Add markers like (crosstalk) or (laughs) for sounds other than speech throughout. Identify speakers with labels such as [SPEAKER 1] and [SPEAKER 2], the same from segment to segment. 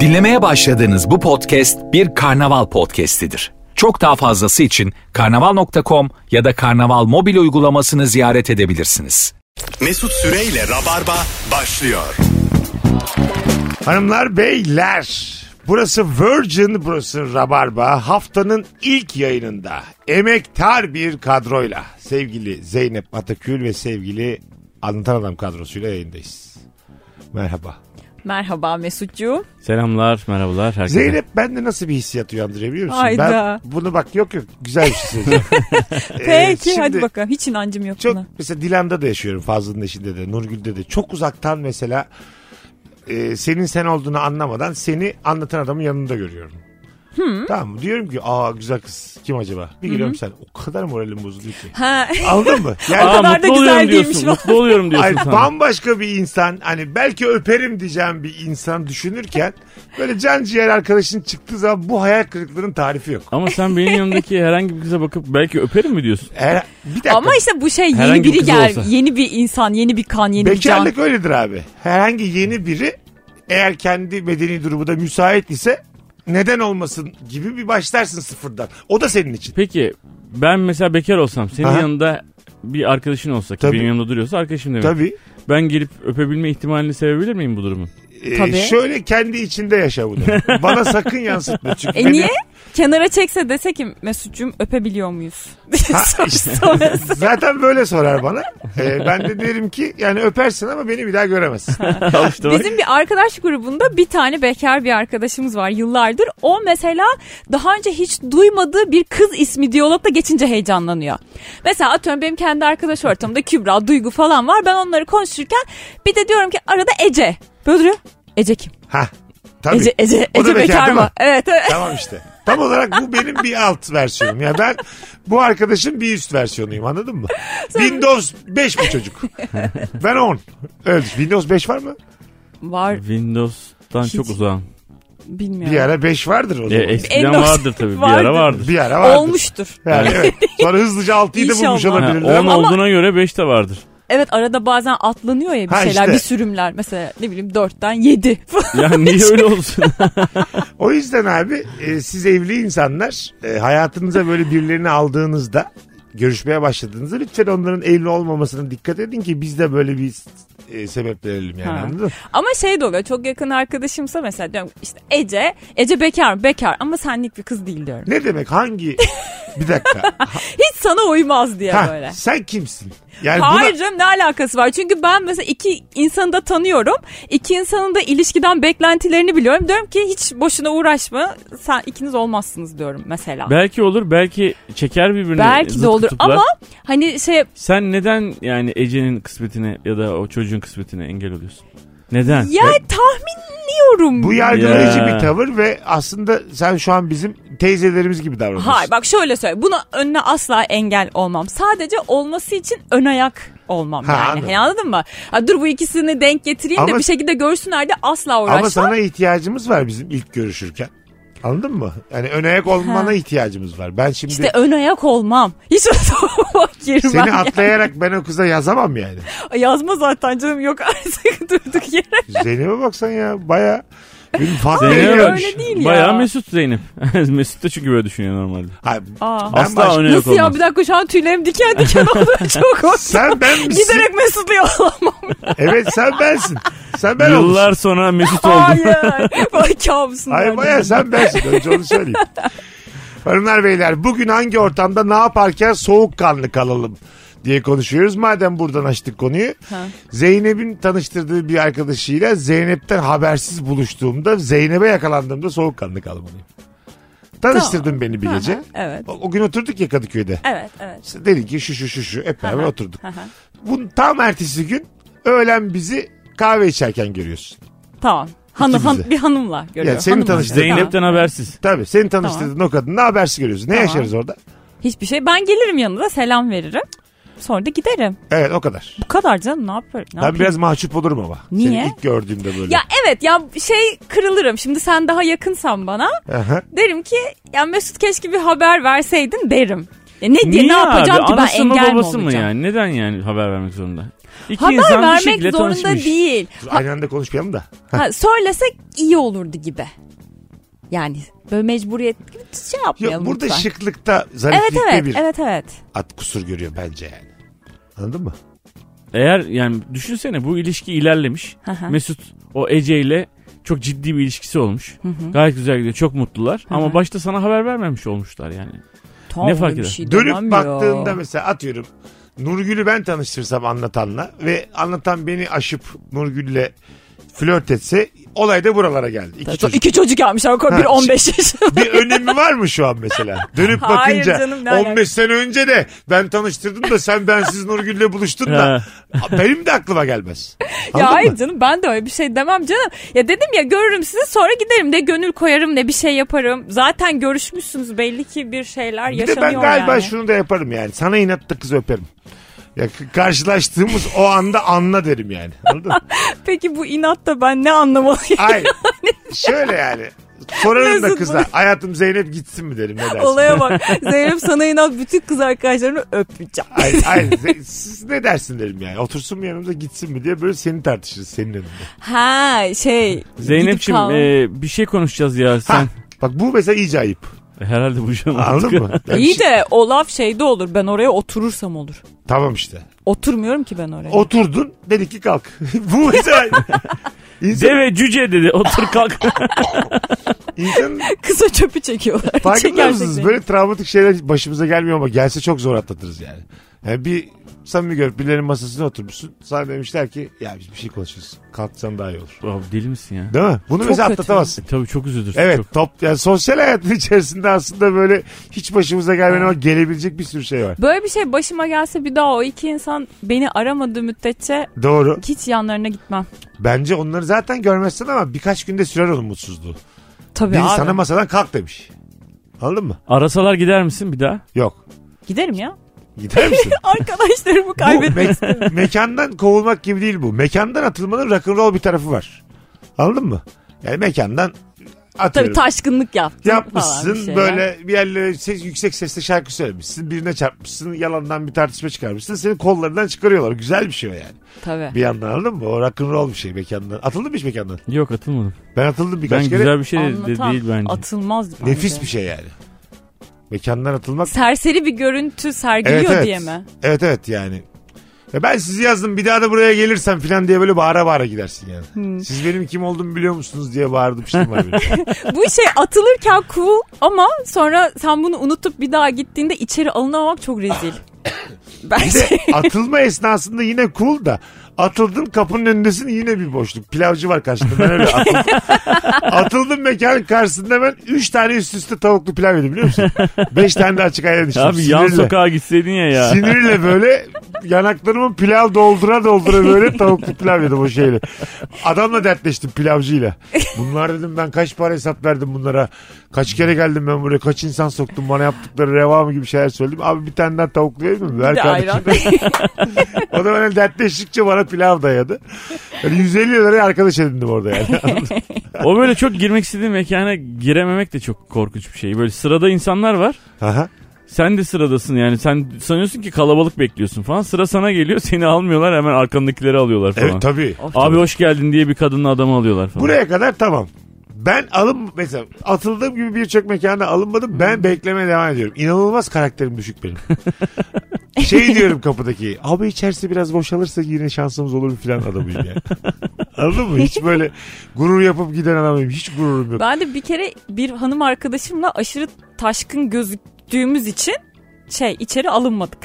[SPEAKER 1] Dinlemeye başladığınız bu podcast bir karnaval podcastidir. Çok daha fazlası için karnaval.com ya da karnaval mobil uygulamasını ziyaret edebilirsiniz.
[SPEAKER 2] Mesut Süreyle Rabarba başlıyor.
[SPEAKER 3] Hanımlar beyler burası Virgin burası Rabarba haftanın ilk yayınında emektar bir kadroyla sevgili Zeynep Atakül ve sevgili Anlatan Adam kadrosuyla yayındayız. Merhaba.
[SPEAKER 4] Merhaba Mesutcuğum.
[SPEAKER 5] Ee, Selamlar, merhabalar herkese.
[SPEAKER 3] Zeynep bende nasıl bir hissiyat uyandırıyor biliyor musun?
[SPEAKER 4] Hayda.
[SPEAKER 3] Ben bunu bak yok yok güzel bir şey
[SPEAKER 4] (laughs)
[SPEAKER 3] söyleyeceğim. Ee,
[SPEAKER 4] Peki
[SPEAKER 3] şimdi-
[SPEAKER 4] hadi bakalım. Hiç inancım yok
[SPEAKER 5] (laughs)
[SPEAKER 3] Çok
[SPEAKER 4] buna.
[SPEAKER 3] mesela Dilan'da da yaşıyorum Fazlı'nın eşinde de Nurgül'de de çok uzaktan mesela e, senin sen olduğunu anlamadan seni anlatan adamın yanında görüyorum. Tamam mı? Diyorum ki aa güzel kız kim acaba? Bir giriyorum sen o kadar moralim bozuluyor ki.
[SPEAKER 4] Ha,
[SPEAKER 3] Anladın
[SPEAKER 5] (laughs)
[SPEAKER 3] mı?
[SPEAKER 4] O
[SPEAKER 3] Yani
[SPEAKER 5] Aa,
[SPEAKER 4] kadar da
[SPEAKER 5] mutlu
[SPEAKER 4] güzel
[SPEAKER 5] oluyorum
[SPEAKER 4] değilmiş
[SPEAKER 5] diyorsun,
[SPEAKER 4] falan.
[SPEAKER 5] mutlu oluyorum diyorsun
[SPEAKER 3] ay,
[SPEAKER 5] sen.
[SPEAKER 3] bambaşka bir insan hani belki öperim diyeceğim bir insan düşünürken böyle can ciğer arkadaşın çıktığı zaman bu hayal kırıklığının tarifi yok.
[SPEAKER 5] Ama sen benim yanımdaki herhangi bir kıza bakıp belki öperim mi diyorsun?
[SPEAKER 3] Eğer- bir dakika.
[SPEAKER 4] ama işte bu şey yeni
[SPEAKER 5] Herhangi bir
[SPEAKER 4] biri
[SPEAKER 5] kız
[SPEAKER 4] gel,
[SPEAKER 5] olsa.
[SPEAKER 4] yeni bir insan, yeni bir kan, yeni bir can.
[SPEAKER 3] Bekarlık öyledir abi. Herhangi yeni biri eğer kendi bedeni durumu da müsait ise neden olmasın gibi bir başlarsın sıfırdan. O da senin için.
[SPEAKER 5] Peki ben mesela bekar olsam senin
[SPEAKER 3] Aha.
[SPEAKER 5] yanında bir arkadaşın olsa ki
[SPEAKER 3] Tabii.
[SPEAKER 5] benim yanımda duruyorsa arkadaşım demek.
[SPEAKER 3] Tabii.
[SPEAKER 5] Ben gelip öpebilme ihtimalini sevebilir miyim
[SPEAKER 4] (laughs)
[SPEAKER 5] bu durumun?
[SPEAKER 3] Ee,
[SPEAKER 4] Tabii.
[SPEAKER 3] Şöyle kendi içinde yaşa bunu. Bana sakın yansıtma çünkü.
[SPEAKER 4] E
[SPEAKER 3] beni-
[SPEAKER 4] niye?
[SPEAKER 5] Hani-
[SPEAKER 4] Kenara çekse dese ki Mesutcuğum öpebiliyor muyuz? (laughs) Soru sorarız.
[SPEAKER 3] Zaten böyle sorar bana. Ee, ben de derim ki yani öpersin ama beni bir daha
[SPEAKER 4] (laughs)
[SPEAKER 3] göremezsin.
[SPEAKER 5] Al işte bak.
[SPEAKER 4] Bizim bir arkadaş grubunda bir tane bekar bir arkadaşımız var yıllardır. O mesela daha önce hiç duymadığı bir kız ismi diyalogda geçince heyecanlanıyor. Mesela atıyorum benim kendi arkadaş ortamında Kübra, Duygu falan var. Ben onları konuşurken bir de diyorum ki arada Ece. Böyle duruyor. Ece kim?
[SPEAKER 3] ha. Tabii.
[SPEAKER 4] Ece, Ece,
[SPEAKER 3] O da
[SPEAKER 4] Ece
[SPEAKER 3] bekar
[SPEAKER 4] bekar
[SPEAKER 3] değil mi?
[SPEAKER 4] mı? Evet, evet.
[SPEAKER 3] Tamam işte. Tam olarak bu benim bir alt versiyonum. Ya ben bu arkadaşın bir üst versiyonuyum anladın mı? Windows 5 bu çocuk. Ben 10. Evet, Windows 5 var mı?
[SPEAKER 4] Var
[SPEAKER 5] Windows'tan
[SPEAKER 4] Hiç.
[SPEAKER 5] çok uzağım.
[SPEAKER 4] bilmiyorum.
[SPEAKER 3] Bir ara 5 vardır o
[SPEAKER 5] E,
[SPEAKER 3] zaman.
[SPEAKER 4] (laughs)
[SPEAKER 5] eskiden
[SPEAKER 4] Windows
[SPEAKER 5] vardır tabii. Bir
[SPEAKER 4] vardır.
[SPEAKER 5] ara vardır.
[SPEAKER 3] bir ara vardır.
[SPEAKER 4] Olmuştur.
[SPEAKER 3] Yani evet. Sonra hızlıca 6'yı da
[SPEAKER 4] İnşallah.
[SPEAKER 3] bulmuş
[SPEAKER 5] Ha,
[SPEAKER 3] olabilirler.
[SPEAKER 5] 10
[SPEAKER 3] ama-
[SPEAKER 5] olduğuna göre 5 de vardır.
[SPEAKER 4] Evet arada bazen atlanıyor ya bir
[SPEAKER 3] Ha,
[SPEAKER 4] şeyler,
[SPEAKER 3] işte.
[SPEAKER 4] bir sürümler. Mesela ne bileyim 4'ten (laughs) 7
[SPEAKER 5] Ya niye
[SPEAKER 4] (laughs)
[SPEAKER 5] öyle olsun?
[SPEAKER 3] O yüzden abi e, siz evli insanlar e, hayatınıza böyle birilerini aldığınızda görüşmeye başladığınızda lütfen onların evli olmamasına dikkat edin ki biz de böyle bir e, sebep verelim yani
[SPEAKER 4] Ha.
[SPEAKER 3] anladın mı?
[SPEAKER 4] Ama şey de oluyor çok yakın arkadaşımsa mesela diyorum işte Ece, Ece bekar mı? Bekar ama senlik bir kız değil diyorum.
[SPEAKER 3] Ne demek hangi bir dakika
[SPEAKER 4] Hiç sana uymaz diye
[SPEAKER 3] Ha,
[SPEAKER 4] böyle.
[SPEAKER 3] sen kimsin? Yani buna-
[SPEAKER 4] Hayır canım ne alakası var? Çünkü ben mesela iki insanı da tanıyorum. İki insanın da ilişkiden beklentilerini biliyorum. Diyorum ki hiç boşuna uğraşma. Sen ikiniz olmazsınız diyorum mesela.
[SPEAKER 5] belki olur, belki çeker birbirini.
[SPEAKER 4] Belki de
[SPEAKER 5] zıt
[SPEAKER 4] olur
[SPEAKER 5] kutuplar.
[SPEAKER 4] ama hani şey
[SPEAKER 5] Sen neden yani Ece'nin kısmetine ya da o çocuğun kısmetine engel oluyorsun? Neden?
[SPEAKER 4] ya tahminliyorum.
[SPEAKER 3] Bu yargılayıcı
[SPEAKER 5] Ya.
[SPEAKER 3] bir tavır ve aslında sen şu an bizim teyzelerimiz gibi davranıyorsun.
[SPEAKER 4] Hayır bak şöyle söyle. Buna önüne asla engel olmam. Sadece olması için ön ayak olmam
[SPEAKER 3] Ha,
[SPEAKER 4] yani.
[SPEAKER 3] anladım.
[SPEAKER 4] Hani anladın mı? Ha, dur bu ikisini denk getireyim de
[SPEAKER 3] Ama-
[SPEAKER 4] bir şekilde görsünler de asla uğraşmam.
[SPEAKER 3] Ama sana ihtiyacımız var bizim ilk görüşürken. Anladın mı? Yani ön ayak olmana
[SPEAKER 4] Ha.
[SPEAKER 3] ihtiyacımız var. Ben şimdi
[SPEAKER 4] İşte ön ayak olmam. Hiç (laughs) o zaman girmem.
[SPEAKER 3] seni
[SPEAKER 4] ya.
[SPEAKER 3] atlayarak ben o kıza yazamam yani.
[SPEAKER 4] Yazma zaten canım yok artık (laughs) durduk yere.
[SPEAKER 3] Zeynep'e baksan ya baya benim fazla
[SPEAKER 5] Zeynep'e
[SPEAKER 4] Hayır,
[SPEAKER 5] bak.
[SPEAKER 4] öyle değil ya.
[SPEAKER 5] Bayağı Mesut Zeynep. (laughs) Mesut da çünkü böyle düşünüyor normalde.
[SPEAKER 3] Hayır,
[SPEAKER 4] Aa.
[SPEAKER 3] Ben
[SPEAKER 5] Asla
[SPEAKER 3] baş-
[SPEAKER 5] öne yok
[SPEAKER 4] Nasıl ya
[SPEAKER 5] olmaz.
[SPEAKER 4] bir dakika şu an tüylerim diken diken
[SPEAKER 3] (laughs)
[SPEAKER 4] oldu. Çok hoş.
[SPEAKER 3] sen ben misin?
[SPEAKER 4] Giderek Mesut'u yalamam.
[SPEAKER 3] Evet sen bensin. Sen ben
[SPEAKER 5] Yıllar
[SPEAKER 3] olmuşsun.
[SPEAKER 5] sonra Mesut oldum.
[SPEAKER 4] Hayır. Vay kabusun.
[SPEAKER 3] Hayır baya sen bensin. Önce onu
[SPEAKER 4] (laughs)
[SPEAKER 3] söyleyeyim. Hanımlar beyler bugün hangi ortamda ne yaparken soğukkanlı kalalım diye konuşuyoruz. Madem buradan açtık konuyu.
[SPEAKER 4] Ha.
[SPEAKER 3] Zeynep'in tanıştırdığı bir arkadaşıyla Zeynep'ten habersiz buluştuğumda Zeynep'e yakalandığımda soğukkanlı kalmalıyım. Tanıştırdın beni bir gece.
[SPEAKER 4] Evet.
[SPEAKER 3] O, o gün oturduk ya Kadıköy'de.
[SPEAKER 4] Evet evet.
[SPEAKER 3] İşte Dedin ki şu şu şu şu hep beraber
[SPEAKER 4] Aha.
[SPEAKER 3] oturduk.
[SPEAKER 4] Aha.
[SPEAKER 3] Bunun tam ertesi gün öğlen bizi kahve içerken görüyorsun.
[SPEAKER 4] Tamam. Hanım,
[SPEAKER 3] İkimizi.
[SPEAKER 4] han- bir hanımla görüyor.
[SPEAKER 3] Yani seni
[SPEAKER 4] Hanımla
[SPEAKER 3] tanıştırdım.
[SPEAKER 4] görüyor.
[SPEAKER 5] Zeynep'ten habersiz.
[SPEAKER 3] Tabii seni tanıştırdığın o kadınla habersiz görüyorsun. Ne
[SPEAKER 4] Tamam.
[SPEAKER 3] yaşarız orada?
[SPEAKER 4] Tamam. Hiçbir şey. Ben gelirim yanına selam veririm. Sonra da giderim.
[SPEAKER 3] Evet o kadar.
[SPEAKER 4] Bu kadar canım ne yapıyorum? Ne
[SPEAKER 3] ben
[SPEAKER 4] yapayım?
[SPEAKER 3] biraz mahcup olurum ama.
[SPEAKER 4] Niye?
[SPEAKER 3] Seni ilk gördüğümde böyle.
[SPEAKER 4] Ya evet ya şey kırılırım. Şimdi sen daha yakınsan bana.
[SPEAKER 3] Aha.
[SPEAKER 4] Derim ki ya Mesut keşke bir haber verseydin derim. Ya ne diye
[SPEAKER 5] Niye
[SPEAKER 4] ne
[SPEAKER 5] abi?
[SPEAKER 4] yapacağım ki ben
[SPEAKER 5] Anası mı
[SPEAKER 4] engel mi
[SPEAKER 5] babası
[SPEAKER 4] olacağım?
[SPEAKER 5] mı yani? Neden yani haber vermek zorunda? İki
[SPEAKER 4] Haber
[SPEAKER 5] insan bir şekilde
[SPEAKER 4] vermek zorunda
[SPEAKER 5] tanışmış.
[SPEAKER 4] değil.
[SPEAKER 3] Dur, Aynı anda konuşmayalım da.
[SPEAKER 4] Ha, söylesek iyi olurdu gibi. Yani böyle mecburiyet gibi şey
[SPEAKER 3] Ya
[SPEAKER 4] yapmayalım
[SPEAKER 3] burada
[SPEAKER 4] lütfen.
[SPEAKER 3] şıklıkta
[SPEAKER 4] Evet
[SPEAKER 3] zariflikte
[SPEAKER 4] evet,
[SPEAKER 3] bir
[SPEAKER 4] evet evet.
[SPEAKER 3] at kusur görüyor bence yani. Anladın mı?
[SPEAKER 5] Eğer yani düşünsene bu ilişki ilerlemiş.
[SPEAKER 4] Hı hı.
[SPEAKER 5] Mesut o Ece ile çok ciddi bir ilişkisi olmuş. Gayet güzel gidiyor. Çok mutlular. Ama başta sana haber vermemiş olmuşlar yani.
[SPEAKER 4] Tam
[SPEAKER 5] Ne
[SPEAKER 4] öyle
[SPEAKER 5] fark
[SPEAKER 4] bir
[SPEAKER 5] eder?
[SPEAKER 4] şey
[SPEAKER 3] Dönüp
[SPEAKER 4] demem ya.
[SPEAKER 3] baktığında mesela atıyorum Nurgül'ü ben tanıştırsam anlatanla ve anlatan beni aşıp Nurgül'le flört etse olay da buralara geldi. İki
[SPEAKER 4] Tabii,
[SPEAKER 3] çocuk.
[SPEAKER 4] İki çocuk gelmiş arkadaşlar. Biri
[SPEAKER 3] Ha,
[SPEAKER 4] 15 yaşında.
[SPEAKER 3] bir önemi var mı şu an mesela? Dönüp
[SPEAKER 4] Hayır
[SPEAKER 3] bakınca
[SPEAKER 4] canım, ne
[SPEAKER 3] 15
[SPEAKER 4] alaka?
[SPEAKER 3] sene önce de ben tanıştırdım da sen bensiz Nurgül'le buluştun da benim de aklıma gelmez.
[SPEAKER 4] ya
[SPEAKER 3] Anladın
[SPEAKER 4] hayır
[SPEAKER 3] mı?
[SPEAKER 4] canım ben de öyle bir şey demem canım. Ya dedim ya görürüm sizi sonra giderim de gönül koyarım ne bir şey yaparım. Zaten görüşmüşsünüz belli ki bir şeyler
[SPEAKER 3] Bir de
[SPEAKER 4] yaşanıyor
[SPEAKER 3] ben galiba
[SPEAKER 4] yani.
[SPEAKER 3] şunu da yaparım yani. Sana inatla kız öperim. Ya k- karşılaştığımız o anda anla derim yani. Anladın
[SPEAKER 4] (laughs)
[SPEAKER 3] mı?
[SPEAKER 4] Peki bu inatla ben
[SPEAKER 3] (laughs)
[SPEAKER 4] ne anlamalıyım?
[SPEAKER 3] Ay şöyle yani. Sorarım da
[SPEAKER 4] Mesut
[SPEAKER 3] kıza. Hayatım Zeynep gitsin mi derim ne dersin?
[SPEAKER 4] Olaya bak. Zeynep sana inat bütün kız arkadaşlarını öpeceğim.
[SPEAKER 3] Ay, ay, Ze- siz ne dersin derim yani. Otursun mu yanımıza gitsin mi diye böyle seni tartışırız senin önünde.
[SPEAKER 4] Ha şey.
[SPEAKER 5] Zeynep'ciğim
[SPEAKER 4] gidip kal-
[SPEAKER 5] e, bir şey konuşacağız ya
[SPEAKER 3] Ha,
[SPEAKER 5] sen. E,
[SPEAKER 3] Bak bu mesela iyice ayıp.
[SPEAKER 5] Herhalde bu canım.
[SPEAKER 3] Anladın mı? Yani
[SPEAKER 4] İyi
[SPEAKER 3] şey-
[SPEAKER 4] de o laf şeyde olur. Ben oraya oturursam olur.
[SPEAKER 3] tamam işte.
[SPEAKER 4] Oturmuyorum ki ben oraya. (laughs)
[SPEAKER 3] Oturdun dedik ki kalk. (laughs) bu mesela insan,
[SPEAKER 5] Deve cüce dedi (laughs) otur kalk.
[SPEAKER 3] insanın
[SPEAKER 4] Kısa çöpü çekiyorlar.
[SPEAKER 3] farkında
[SPEAKER 4] Çekersek
[SPEAKER 3] mısınız?
[SPEAKER 4] de.
[SPEAKER 3] Böyle travmatik şeyler başımıza gelmiyor ama gelse çok zor atlatırız yani. yani bir samimi görüp birilerinin masasına oturmuşsun. Sana demişler ki ya biz bir şey konuşuyoruz. Kalksan daha iyi olur.
[SPEAKER 5] Abi deli misin ya?
[SPEAKER 3] Değil mi? Bunu
[SPEAKER 4] Çok
[SPEAKER 3] mesela
[SPEAKER 4] kötü.
[SPEAKER 3] atlatamazsın.
[SPEAKER 5] E, tabii çok üzülürsün.
[SPEAKER 3] Evet
[SPEAKER 5] Çok.
[SPEAKER 3] top yani sosyal hayatın içerisinde aslında böyle hiç başımıza gelmeyen ama gelebilecek bir sürü şey var.
[SPEAKER 4] Böyle bir şey başıma gelse bir daha o iki insan beni aramadığı müddetçe
[SPEAKER 3] Doğru.
[SPEAKER 4] hiç yanlarına gitmem.
[SPEAKER 3] Bence onları zaten görmezsin ama birkaç günde sürer onun mutsuzluğu.
[SPEAKER 4] Tabii
[SPEAKER 3] Biri
[SPEAKER 4] abi.
[SPEAKER 3] sana masadan kalk demiş. Anladın mı?
[SPEAKER 5] Arasalar gider misin bir daha?
[SPEAKER 3] Yok.
[SPEAKER 4] Giderim ya. (laughs)
[SPEAKER 3] Gider misin?
[SPEAKER 4] Arkadaşlarımı
[SPEAKER 3] bu
[SPEAKER 4] kaybettim.
[SPEAKER 3] me- mekandan kovulmak gibi değil bu. Mekandan atılmanın rock'n'roll bir tarafı var. Anladın mı? Yani mekandan
[SPEAKER 4] Tabii
[SPEAKER 3] atıyorum.
[SPEAKER 4] taşkınlık yaptım falan bir şey
[SPEAKER 3] Yapmışsın
[SPEAKER 4] şeyler.
[SPEAKER 3] böyle bir yerlere ses, yüksek sesle şarkı söylemişsin. Birine çarpmışsın. Yalandan bir tartışma çıkarmışsın. Senin kollarından çıkarıyorlar. Güzel bir şey o yani.
[SPEAKER 4] Tabii.
[SPEAKER 3] Bir yandan anladın mı? O rock'n'roll bir şey mekandan. Atıldın mı hiç mekandan?
[SPEAKER 5] Yok atılmadım.
[SPEAKER 3] Ben atıldım birkaç
[SPEAKER 5] ben
[SPEAKER 3] kere.
[SPEAKER 5] güzel bir şey de
[SPEAKER 4] Anlatan
[SPEAKER 5] değil bence.
[SPEAKER 4] atılmaz bence.
[SPEAKER 3] Nefis bir şey yani. Mekandan atılmak.
[SPEAKER 4] Serseri bir görüntü sergiliyor
[SPEAKER 3] Evet evet.
[SPEAKER 4] diye mi?
[SPEAKER 3] Evet evet yani. Ya ben sizi yazdım bir daha da buraya gelirsem falan diye böyle bağıra bağıra gidersin yani.
[SPEAKER 4] Hmm.
[SPEAKER 3] Siz benim kim olduğumu biliyor musunuz diye bağırdım işte var
[SPEAKER 4] (laughs)
[SPEAKER 3] benim.
[SPEAKER 4] Bu şey atılırken cool ama sonra sen bunu unutup bir daha gittiğinde içeri alınamamak çok rezil.
[SPEAKER 3] (laughs)
[SPEAKER 4] Bence.
[SPEAKER 3] Atılma esnasında yine cool da atıldın kapının önündesin yine bir boşluk. Pilavcı var karşında ben öyle atıldım.
[SPEAKER 4] (laughs)
[SPEAKER 3] atıldım mekanın karşısında ben 3 tane üst üste tavuklu pilav yedim biliyor musun? 5 tane de açık ayran içtim.
[SPEAKER 5] Abi yan
[SPEAKER 3] Sinirle.
[SPEAKER 5] sokağa gitseydin ya ya.
[SPEAKER 3] Sinirle böyle yanaklarımı pilav doldura doldura
[SPEAKER 4] (laughs)
[SPEAKER 3] böyle tavuklu pilav yedim o şeyle. Adamla dertleştim pilavcıyla. Bunlar dedim ben kaç para hesap verdim bunlara. Kaç kere geldim ben buraya kaç insan soktum bana yaptıkları reva mı gibi şeyler söyledim. Abi bir tane daha tavuklu verir mi? Ver
[SPEAKER 4] Bir de
[SPEAKER 3] kardeşim.
[SPEAKER 4] ayran.
[SPEAKER 3] O da böyle dertleştikçe bana pilav dayadı. Yani 150 liraya arkadaş edindim orada
[SPEAKER 4] (laughs)
[SPEAKER 3] yani.
[SPEAKER 5] o böyle çok girmek istediğin mekana girememek de çok korkunç bir şey. Böyle sırada insanlar var.
[SPEAKER 3] Aha.
[SPEAKER 5] Sen de sıradasın yani. Sen sanıyorsun ki kalabalık bekliyorsun falan. Sıra sana geliyor. Seni almıyorlar hemen arkandakileri alıyorlar falan.
[SPEAKER 3] Evet tabii.
[SPEAKER 5] Abi hoş geldin diye bir kadınla adamı alıyorlar falan.
[SPEAKER 3] Buraya kadar tamam. Ben alın mesela atıldığım gibi birçok mekanda alınmadım. Ben beklemeye devam ediyorum. İnanılmaz karakterim düşük benim. (laughs) şey diyorum kapıdaki. Abi içerisi biraz boşalırsa yine şansımız olur filan adamıyım yani.
[SPEAKER 4] (laughs)
[SPEAKER 3] Anladın mı? Hiç böyle gurur yapıp giden adamıyım. Hiç gururum yok.
[SPEAKER 4] Ben de bir kere bir hanım arkadaşımla aşırı taşkın gözüktüğümüz için şey içeri alınmadık.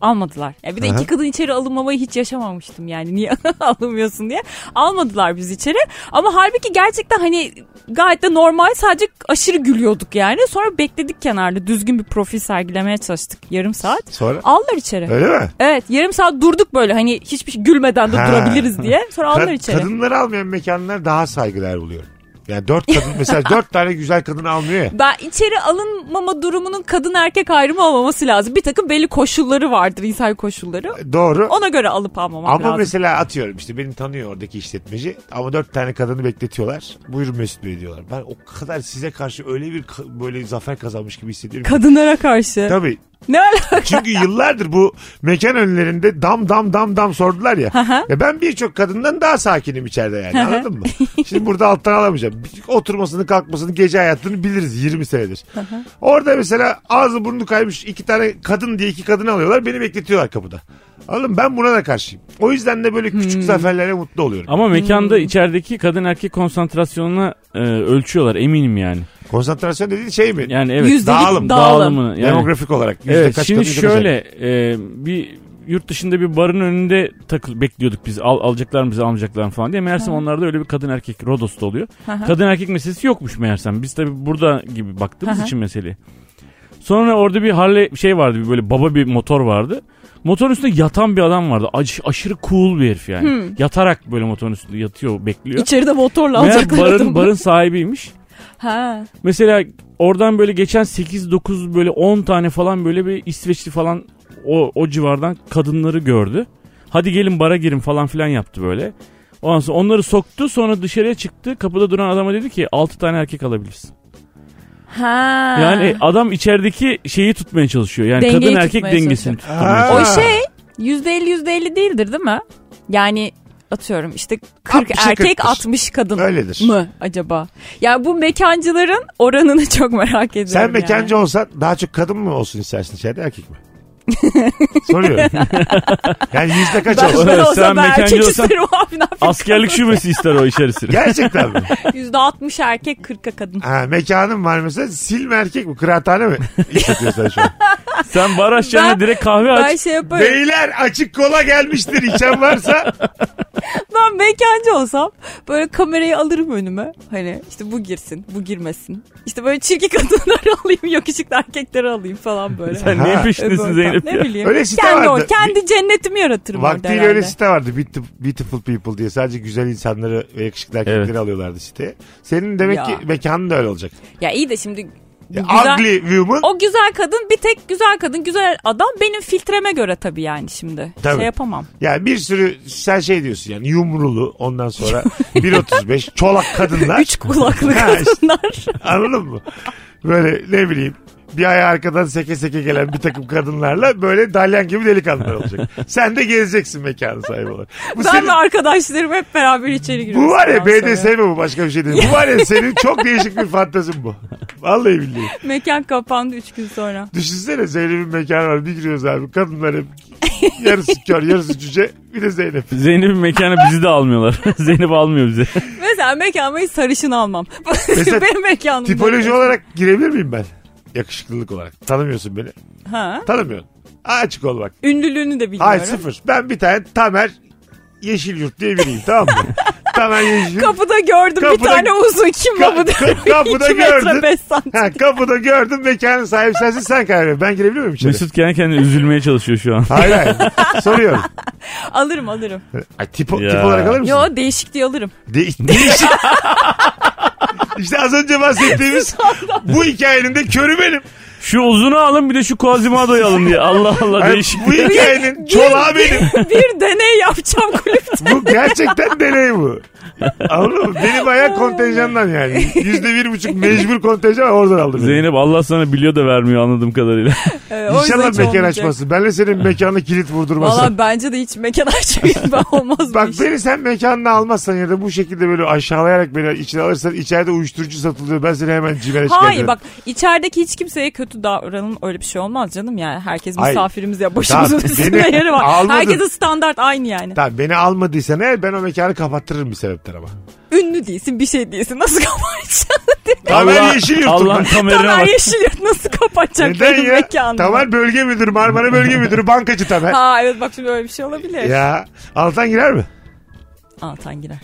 [SPEAKER 4] Almadılar. Ya bir de
[SPEAKER 3] Aha.
[SPEAKER 4] iki kadın içeri alınmamayı hiç yaşamamıştım yani niye (laughs) alınmıyorsun diye. Almadılar biz içeri. Ama halbuki gerçekten hani gayet de normal sadece aşırı gülüyorduk yani. Sonra bekledik kenarda düzgün bir profil sergilemeye çalıştık yarım saat.
[SPEAKER 3] Sonra?
[SPEAKER 4] Aldılar içeri. Evet.
[SPEAKER 3] Öyle mi?
[SPEAKER 4] yarım saat durduk böyle hani hiçbir şey gülmeden de
[SPEAKER 3] Ha.
[SPEAKER 4] durabiliriz diye. Sonra aldılar
[SPEAKER 3] Kad-
[SPEAKER 4] içeri.
[SPEAKER 3] kadınları almayan mekanlar daha saygılar buluyorum. Yani dört kadın
[SPEAKER 4] (laughs)
[SPEAKER 3] mesela dört tane güzel kadın almıyor ya.
[SPEAKER 4] Ben içeri alınmama durumunun kadın erkek ayrımı olmaması lazım. Bir takım belli koşulları vardır insan koşulları.
[SPEAKER 3] Doğru.
[SPEAKER 4] Ona göre alıp almamak
[SPEAKER 3] Ama
[SPEAKER 4] lazım.
[SPEAKER 3] mesela atıyorum işte beni tanıyor oradaki işletmeci ama dört tane kadını bekletiyorlar. Buyurun Mesut Bey diyorlar. Ben o kadar size karşı öyle bir ka- böyle zafer kazanmış gibi hissediyorum. ki.
[SPEAKER 4] Kadınlara karşı.
[SPEAKER 3] Tabii
[SPEAKER 4] Ne alaka?
[SPEAKER 3] Çünkü yıllardır bu mekan önlerinde dam dam dam dam sordular ya. ya ben birçok kadından daha sakinim içeride yani anladın mı? Şimdi burada alttan alamayacağım. Oturmasını kalkmasını gece hayatını biliriz 20 senedir. Orada mesela ağzı burnu kaymış iki tane kadın diye iki kadını alıyorlar beni bekletiyorlar kapıda. Oğlum ben buna da karşıyım. O yüzden de böyle küçük zaferlere mutlu oluyorum.
[SPEAKER 5] Ama mekanda içerideki kadın erkek konsantrasyonuna e, ölçüyorlar eminim yani.
[SPEAKER 3] Konsantrasyon dediğin şey mi?
[SPEAKER 5] Yani evet.
[SPEAKER 4] Yüzdelik
[SPEAKER 3] dağılım,
[SPEAKER 5] Dağılımını. Yani,
[SPEAKER 3] Demografik olarak. yüzde
[SPEAKER 5] evet
[SPEAKER 3] kaç
[SPEAKER 5] şimdi
[SPEAKER 3] kadın, yüzde kaç
[SPEAKER 5] şöyle e, bir yurt dışında bir barın önünde takıl bekliyorduk biz al, alacaklar mı bizi almayacaklar mı falan diye. Meğersem onlarda öyle bir kadın erkek Rodos'ta oluyor.
[SPEAKER 4] hı.
[SPEAKER 5] kadın erkek meselesi yokmuş meğersem. Biz tabi burada gibi baktığımız için meseleye. Sonra orada bir Harley şey vardı bir böyle baba bir motor vardı. Motorun üstünde yatan bir adam vardı. Aş- aşırı cool bir herif yani. Yatarak böyle motorun üstünde yatıyor bekliyor.
[SPEAKER 4] İçeride motorla
[SPEAKER 5] Meğer
[SPEAKER 4] alacaklar
[SPEAKER 5] barın,
[SPEAKER 4] adamı.
[SPEAKER 5] barın sahibiymiş.
[SPEAKER 4] Ha.
[SPEAKER 5] Mesela oradan böyle geçen 8-9 böyle 10 tane falan böyle bir İsveçli falan o, o civardan kadınları gördü. Hadi gelin bara girin falan filan yaptı böyle. Ondan sonra onları soktu sonra dışarıya çıktı. Kapıda duran adama dedi ki 6 tane erkek alabilirsin.
[SPEAKER 4] Ha.
[SPEAKER 5] Yani adam içerideki şeyi tutmaya çalışıyor. Yani
[SPEAKER 4] Dengeyi
[SPEAKER 5] kadın erkek
[SPEAKER 4] tutmaya
[SPEAKER 5] dengesini
[SPEAKER 3] Ha.
[SPEAKER 5] tutmaya çalışıyor.
[SPEAKER 4] O şey yüzde elli yüzde elli değildir değil mi? Yani atıyorum işte 40
[SPEAKER 3] 60'a
[SPEAKER 4] erkek
[SPEAKER 3] 40'tır.
[SPEAKER 4] 60 kadın
[SPEAKER 3] Öyledir.
[SPEAKER 4] mı acaba? Ya bu mekancıların oranını (laughs) çok merak ediyorum.
[SPEAKER 3] Sen
[SPEAKER 4] yani.
[SPEAKER 3] mekancı olsan daha çok kadın mı olsun istersin içeride erkek mi? Soruyorum. yani yüzde kaç
[SPEAKER 4] Ben,
[SPEAKER 3] olsun?
[SPEAKER 4] ben olsa
[SPEAKER 5] Sen
[SPEAKER 4] ben
[SPEAKER 5] mekancı
[SPEAKER 4] erkek (laughs)
[SPEAKER 5] olsan-
[SPEAKER 4] isterim abi ne yapayım?
[SPEAKER 5] Askerlik şubesi ister o
[SPEAKER 3] (laughs)
[SPEAKER 5] içerisini.
[SPEAKER 3] Gerçekten mi?
[SPEAKER 4] Yüzde 60 erkek 40'a kadın.
[SPEAKER 3] Ha, mekanın var mesela silme erkek mi? Kıraathane mi? İşletiyorsun şu an.
[SPEAKER 4] (laughs)
[SPEAKER 5] Sen bar aşağıya
[SPEAKER 4] Ben-
[SPEAKER 5] direkt kahve
[SPEAKER 4] Ben
[SPEAKER 5] aç.
[SPEAKER 4] şey yaparım.
[SPEAKER 3] Beyler açık kola gelmiştir içen
[SPEAKER 4] (laughs)
[SPEAKER 3] varsa.
[SPEAKER 4] Ben mekancı olsam böyle kamerayı alırım önüme. Hani işte bu girsin, bu girmesin. İşte böyle çirkin kadınları (laughs) alayım, yakışıklı erkekleri alayım falan böyle.
[SPEAKER 5] Sen neyin
[SPEAKER 3] Ha.
[SPEAKER 5] peşindesin
[SPEAKER 4] Böyle
[SPEAKER 5] Zeynep
[SPEAKER 4] Ne
[SPEAKER 5] ya?
[SPEAKER 4] bileyim.
[SPEAKER 3] Öyle site
[SPEAKER 4] kendi,
[SPEAKER 3] vardı.
[SPEAKER 4] or- kendi cennetimi yaratırım orada
[SPEAKER 3] Vaktiyle öyle
[SPEAKER 4] herhalde.
[SPEAKER 3] site vardı. Beautiful, beautiful People diye sadece güzel insanları ve yakışıklı erkekleri
[SPEAKER 5] Evet.
[SPEAKER 3] alıyorlardı siteye. Senin demek
[SPEAKER 4] Ya.
[SPEAKER 3] ki mekanın da öyle olacak.
[SPEAKER 4] Ya iyi de şimdi bu
[SPEAKER 3] Ya,
[SPEAKER 4] güzel-
[SPEAKER 3] Ugly woman.
[SPEAKER 4] O güzel kadın bir tek güzel kadın güzel adam benim filtreme göre tabii yani şimdi.
[SPEAKER 3] Tabii.
[SPEAKER 4] Şey yapamam.
[SPEAKER 3] Yani bir sürü sen şey diyorsun yani yumrulu ondan
[SPEAKER 4] (laughs)
[SPEAKER 3] sonra 1.35 çolak kadınlar.
[SPEAKER 4] Üç kulaklı
[SPEAKER 3] Ha, işte.
[SPEAKER 4] kadınlar.
[SPEAKER 3] (laughs) Anladın mı? Böyle ne bileyim bir ay arkadan seke seke gelen bir takım kadınlarla böyle dalyan gibi delikanlılar olacak. Sen de gezeceksin mekanı sahibi olarak. Bu,
[SPEAKER 4] ben
[SPEAKER 3] senin,
[SPEAKER 4] ve arkadaşlarım hep beraber içeri giriyoruz.
[SPEAKER 3] bu var ya
[SPEAKER 4] ondan sonra.
[SPEAKER 3] BDSM mi bu başka bir şey değil. Bu var ya senin çok değişik bir fantazin bu. Vallahi billahi.
[SPEAKER 4] Mekan kapandı üç gün sonra.
[SPEAKER 3] Düşünsene Zeynep'in mekanı var bir giriyoruz abi kadınlar hep yarısı kör yarısı cüce bir de Zeynep.
[SPEAKER 5] Zeynep'in mekana bizi de almıyorlar. (laughs) Zeynep almıyor bizi.
[SPEAKER 4] Mesela mekanıma hiç sarışın almam. (laughs)
[SPEAKER 3] Mesela
[SPEAKER 4] Benim mekanım.
[SPEAKER 3] Tipoloji
[SPEAKER 4] böyle.
[SPEAKER 3] olarak girebilir miyim ben? Yakışıklılık olarak. Tanımıyorsun beni.
[SPEAKER 4] Ha.
[SPEAKER 3] Tanımıyorsun. Açık ol bak.
[SPEAKER 4] Ünlülüğünü de bilmiyorum.
[SPEAKER 3] Hayır sıfır. Ben bir tane Tamer Yeşilyurt diye biriyim tamam mı? Tamer Yeşilyurt.
[SPEAKER 4] Kapıda gördüm bir
[SPEAKER 3] Kapıda-
[SPEAKER 4] tane uzun kim
[SPEAKER 3] Ka-
[SPEAKER 4] bu bu diye.
[SPEAKER 3] ka- (laughs) kapıda
[SPEAKER 4] İki
[SPEAKER 3] gördün.
[SPEAKER 4] metre beş santim.
[SPEAKER 3] (laughs) Ha, kapıda gördüm mekanın sahibi sensin sen karar ver. Ben girebiliyor muyum içeri?
[SPEAKER 5] Mesut kendi kendine üzülmeye çalışıyor şu an.
[SPEAKER 3] Hayır
[SPEAKER 5] (laughs)
[SPEAKER 3] hayır. Soruyorum.
[SPEAKER 4] Alırım alırım.
[SPEAKER 3] Ay, tipo,
[SPEAKER 5] Ya.
[SPEAKER 3] tip olarak alır mısın?
[SPEAKER 4] Yo değişik diye alırım. (laughs)
[SPEAKER 3] De- değişik. işte az önce bahsettiğimiz bu hikayenin de körü benim.
[SPEAKER 5] Şu uzunu alın bir de şu Quasimodo'yu alın diye. Allah Allah
[SPEAKER 3] Ay,
[SPEAKER 5] değişik.
[SPEAKER 3] bu hikayenin çolağı benim.
[SPEAKER 4] bir deney yapacağım kulüpte.
[SPEAKER 3] Bu gerçekten deney bu. Anladın mı? Benim ayak kontenjandan yani. Yüzde bir buçuk mecbur kontenjan oradan aldım. beni.
[SPEAKER 5] Zeynep Allah sana biliyor da vermiyor anladığım kadarıyla.
[SPEAKER 4] Ee, o yüzden hiç
[SPEAKER 3] (laughs) İnşallah mekan
[SPEAKER 4] olmayacak.
[SPEAKER 3] açmasın. Benle senin mekanına kilit vurdurmasın.
[SPEAKER 4] Valla bence de hiç mekan (laughs) açmayayım
[SPEAKER 3] (laughs)
[SPEAKER 4] ben olmaz
[SPEAKER 3] Bak
[SPEAKER 4] bu iş.
[SPEAKER 3] beni sen mekanına almazsan ya da bu şekilde böyle aşağılayarak beni içine alırsan içeride uyuşturucu satılıyor. Ben seni hemen cimere çıkartırım.
[SPEAKER 4] Hayır bak içerideki hiç kimseye kötü davranın öyle bir şey olmaz canım yani herkes
[SPEAKER 3] Hayır.
[SPEAKER 4] misafirimiz ya başımızın
[SPEAKER 3] Tamam,
[SPEAKER 4] (laughs) üstünde
[SPEAKER 3] beni
[SPEAKER 4] yeri var.
[SPEAKER 3] almadın.
[SPEAKER 4] Herkesin standart aynı yani.
[SPEAKER 3] Tamam beni almadıysan eğer ben o mekanı kapattırırım bir sebepten ama.
[SPEAKER 4] Ünlü değilsin bir şey değilsin nasıl kapatacaksın?
[SPEAKER 3] Tamer yeşil yurtum.
[SPEAKER 4] (laughs)
[SPEAKER 5] Allah'ın kamerine
[SPEAKER 4] Tamer
[SPEAKER 5] bak.
[SPEAKER 4] Yeşilyurt nasıl kapatacak
[SPEAKER 3] Neden
[SPEAKER 4] benim
[SPEAKER 3] ya?
[SPEAKER 4] mekanımı?
[SPEAKER 3] Tamer bölge müdürü, Marmara bölge müdürü, bankacı Tamer.
[SPEAKER 4] Ha evet bak şimdi öyle bir şey olabilir.
[SPEAKER 3] ya Altan girer mi?
[SPEAKER 4] Altan girer.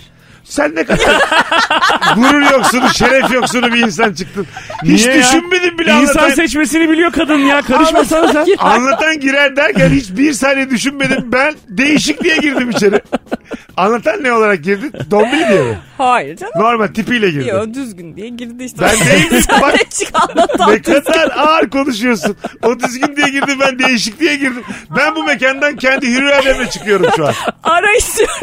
[SPEAKER 3] Sen ne
[SPEAKER 4] (laughs)
[SPEAKER 3] kadar gurur yoksunu, şeref yoksunu bir insan çıktın. Hiç
[SPEAKER 5] Niye ya?
[SPEAKER 3] düşünmedin bile
[SPEAKER 5] İnsan
[SPEAKER 3] anlatan,
[SPEAKER 5] seçmesini biliyor kadın ya karışmasana sen.
[SPEAKER 3] anlatan girer derken hiç bir saniye düşünmedim ben. Değişik diye girdim içeri. Anlatan ne olarak girdi? Dombili diye mi?
[SPEAKER 4] Hayır canım.
[SPEAKER 3] Normal tipiyle girdi.
[SPEAKER 4] Yok düzgün diye girdi işte. (laughs)
[SPEAKER 3] Ben değilim. Bak
[SPEAKER 4] Sen çık anlatan
[SPEAKER 3] ne kadar ağır konuşuyorsun. O düzgün diye girdi ben değişik diye girdim. Ben bu mekandan kendi hürri alemle çıkıyorum şu an.
[SPEAKER 4] Ara istiyorum.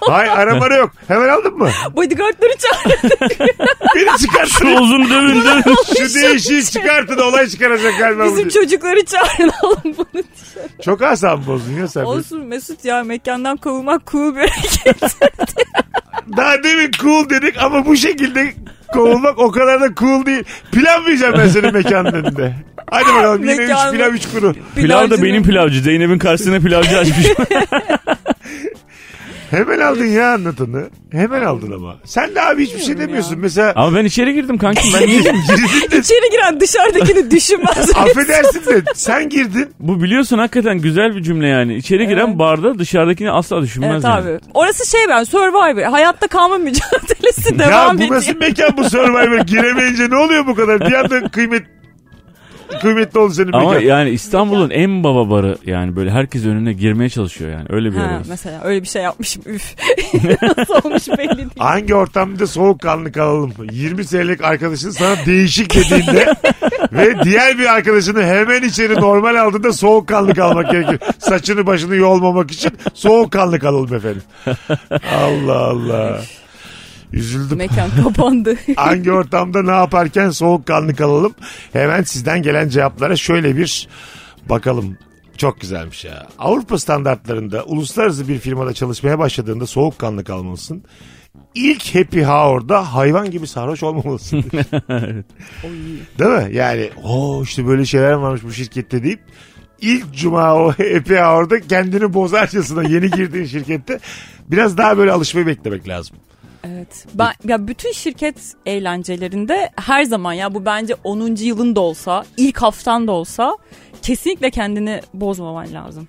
[SPEAKER 3] Hay aramara yok. Hemen aldın mı?
[SPEAKER 4] Bodyguardları çağırdı.
[SPEAKER 3] Beni çıkartın.
[SPEAKER 5] Uzun dövün dövün.
[SPEAKER 3] Şu değişiği çıkartın olay çıkaracak galiba. bu diye.
[SPEAKER 4] Bizim çocukları çağırın (laughs) alın bunu diye.
[SPEAKER 3] Çok asabı bozdun ya sen. beni.
[SPEAKER 4] Olsun Mesut ya mekandan kovulmak cool bir hareket.
[SPEAKER 3] Daha demin cool dedik ama bu şekilde kovulmak o kadar da cool değil. Pilav mı yiyeceğim ben senin mekanın önünde? Hadi bakalım yine 3
[SPEAKER 4] Mekanın-
[SPEAKER 3] pilav 3 kuru.
[SPEAKER 5] (laughs)
[SPEAKER 4] (laughs)
[SPEAKER 5] Pilav da
[SPEAKER 4] Pilavcının-
[SPEAKER 5] benim pilavcı. Zeynep'in karşısına
[SPEAKER 4] (laughs)
[SPEAKER 5] pilavcı açmış.
[SPEAKER 3] Hemen aldın ya anlatanı. Hemen aldın ama. Sen de abi hiçbir şey demiyorsun. Mesela
[SPEAKER 5] Ama ben içeri girdim kankim. Ben niye-
[SPEAKER 3] (laughs) girdin de
[SPEAKER 4] İçeri
[SPEAKER 3] (laughs)
[SPEAKER 4] giren dışarıdakini düşünmez.
[SPEAKER 3] affedersin de sen girdin.
[SPEAKER 5] Bu biliyorsun hakikaten güzel bir cümle yani. İçeri giren
[SPEAKER 4] Evet.
[SPEAKER 5] barda dışarıdakini asla düşünmez
[SPEAKER 4] Evet
[SPEAKER 5] yani.
[SPEAKER 4] abi. Orası şey ben Survivor. Hayatta kalma mücadelesi
[SPEAKER 3] ya
[SPEAKER 4] devam
[SPEAKER 3] bu nasıl
[SPEAKER 4] ediyor.
[SPEAKER 3] mekan bu Survivor giremeyince ne oluyor bu kadar? Bir anda kıymet kıymetli oldu senin
[SPEAKER 5] Ama
[SPEAKER 3] mekan.
[SPEAKER 5] yani İstanbul'un en baba barı yani böyle herkes önüne girmeye çalışıyor yani öyle bir yer
[SPEAKER 4] Ha,
[SPEAKER 5] orası.
[SPEAKER 4] mesela öyle bir şey yapmışım üf. (laughs) Nasıl olmuş belli değil.
[SPEAKER 3] Hangi ortamda soğukkanlı kalalım? 20 senelik arkadaşın sana değişik dediğinde ve diğer bir arkadaşını hemen içeri normal aldığında soğukkanlı kalmak gerekir. Saçını başını yolmamak için soğukkanlı kalalım efendim. Allah Allah. Üzüldüm. (laughs)
[SPEAKER 4] Mekan kapandı.
[SPEAKER 3] Hangi ortamda ne yaparken soğukkanlı kalalım? Hemen sizden gelen cevaplara şöyle bir bakalım. Çok güzelmiş ya. Avrupa standartlarında uluslararası bir firmada çalışmaya başladığında soğukkanlı kalmalısın. İlk happy hour'da hayvan gibi sarhoş olmamalısın. Değil mi? Yani o işte böyle şeyler varmış bu şirkette deyip ilk cuma o happy hour'da kendini bozarcasına yeni girdiğin şirkette biraz daha böyle alışmayı beklemek lazım.
[SPEAKER 4] Evet. Ben ya bütün şirket eğlencelerinde her zaman ya bu bence 10. yılın da olsa, ilk haftan da olsa kesinlikle kendini bozmaman lazım.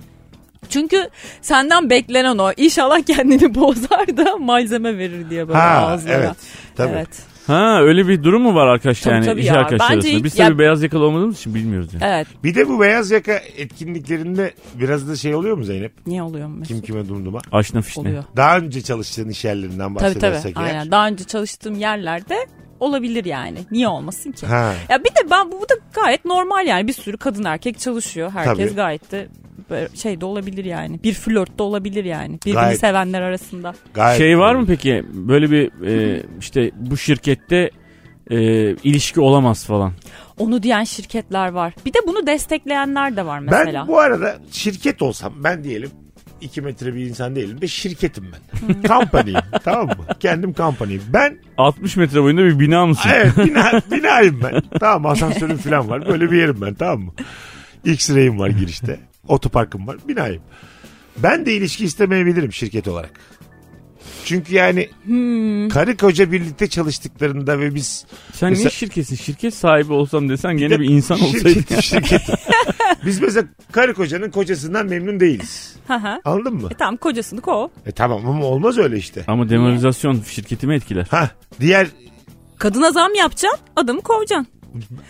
[SPEAKER 4] Çünkü senden beklenen o. İnşallah kendini (laughs) bozar da malzeme verir diye böyle
[SPEAKER 3] Ha,
[SPEAKER 4] ağızlara. (laughs)
[SPEAKER 3] evet. Tabii.
[SPEAKER 4] Evet.
[SPEAKER 5] Ha öyle bir durum mu var arkadaşlar
[SPEAKER 4] Tabii,
[SPEAKER 5] yani
[SPEAKER 4] tabii
[SPEAKER 5] iş
[SPEAKER 4] ya.
[SPEAKER 5] arkadaşları
[SPEAKER 4] Bence
[SPEAKER 5] arasında?
[SPEAKER 4] ilk-
[SPEAKER 5] Biz tabii
[SPEAKER 4] ya-
[SPEAKER 5] beyaz yakalı olmadığımız için bilmiyoruz yani.
[SPEAKER 4] Evet.
[SPEAKER 3] Bir de bu beyaz yaka etkinliklerinde biraz da şey oluyor mu Zeynep?
[SPEAKER 4] Niye oluyor mu?
[SPEAKER 3] Kim kime dumduma?
[SPEAKER 5] Aşna fişne.
[SPEAKER 4] Oluyor.
[SPEAKER 3] Daha önce çalıştığın iş yerlerinden
[SPEAKER 4] Tabii tabii.
[SPEAKER 3] bahsedersek eğer.
[SPEAKER 4] Aynen. Daha önce çalıştığım yerlerde olabilir yani. Niye olmasın ki?
[SPEAKER 3] Ha.
[SPEAKER 4] Ya bir de ben bu da gayet normal yani. Bir sürü kadın erkek çalışıyor. Herkes
[SPEAKER 3] Tabii.
[SPEAKER 4] gayet de böyle şey de olabilir yani. Bir flört de olabilir yani. Birbirini
[SPEAKER 3] Gayet.
[SPEAKER 4] sevenler arasında.
[SPEAKER 3] Gayet
[SPEAKER 5] Şey var mı peki böyle bir e, işte bu şirkette e, ilişki olamaz falan.
[SPEAKER 4] Onu diyen şirketler var. Bir de bunu destekleyenler de var
[SPEAKER 3] Ben
[SPEAKER 4] mesela.
[SPEAKER 3] bu arada şirket olsam ben diyelim 2 metre bir insan değilim de şirketim ben. Company'yim tamam mı? Kendim company'yim. Ben
[SPEAKER 5] 60 metre boyunda bir bina mısın?
[SPEAKER 3] evet bina, binayım ben. Tamam mı? asansörüm falan var. Böyle bir yerim ben tamam mı? X-ray'im var girişte. Otoparkım var. Binayım. Ben de ilişki istemeyebilirim şirket olarak. Çünkü yani karı koca birlikte çalıştıklarında ve biz
[SPEAKER 5] Sen
[SPEAKER 3] Mesela-
[SPEAKER 5] ne şirketsin? Şirket sahibi olsam desen gene bir insan olsaydın.
[SPEAKER 3] Şirket, şirket. Biz mesela karı kocanın kocasından memnun değiliz.
[SPEAKER 4] Hı hı.
[SPEAKER 3] Anladın mı?
[SPEAKER 4] E tamam kocasını kov.
[SPEAKER 3] E tamam ama olmaz öyle işte.
[SPEAKER 5] Ama demoralizasyon şirketimi etkiler.
[SPEAKER 3] Ha diğer
[SPEAKER 4] Kadına zam yapacaksın adamı kovacaksın.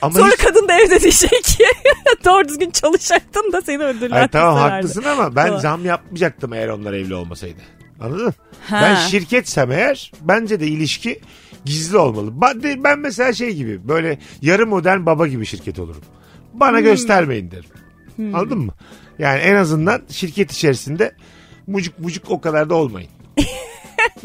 [SPEAKER 3] ama
[SPEAKER 4] Sonra
[SPEAKER 3] hiç-
[SPEAKER 4] kadın da evde diyecek ki (laughs) doğru düzgün çalışacaktın da seni öldürdüler.
[SPEAKER 3] Ay, tamam
[SPEAKER 4] severdi."
[SPEAKER 3] haklısın ama ben
[SPEAKER 4] Tamam.
[SPEAKER 3] zam yapmayacaktım eğer onlar evli olmasaydı. Anladın mı?
[SPEAKER 4] Ha.
[SPEAKER 3] Ben şirketsem eğer bence de ilişki gizli olmalı. Ba- de- Ben mesela şey gibi böyle yarı modern baba gibi şirket olurum. Bana
[SPEAKER 4] Hmm.
[SPEAKER 3] göstermeyin derim. Anladın mı? Yani en azından şirket içerisinde mucuk mucuk o kadar da
[SPEAKER 4] (laughs)
[SPEAKER 3] olmayın.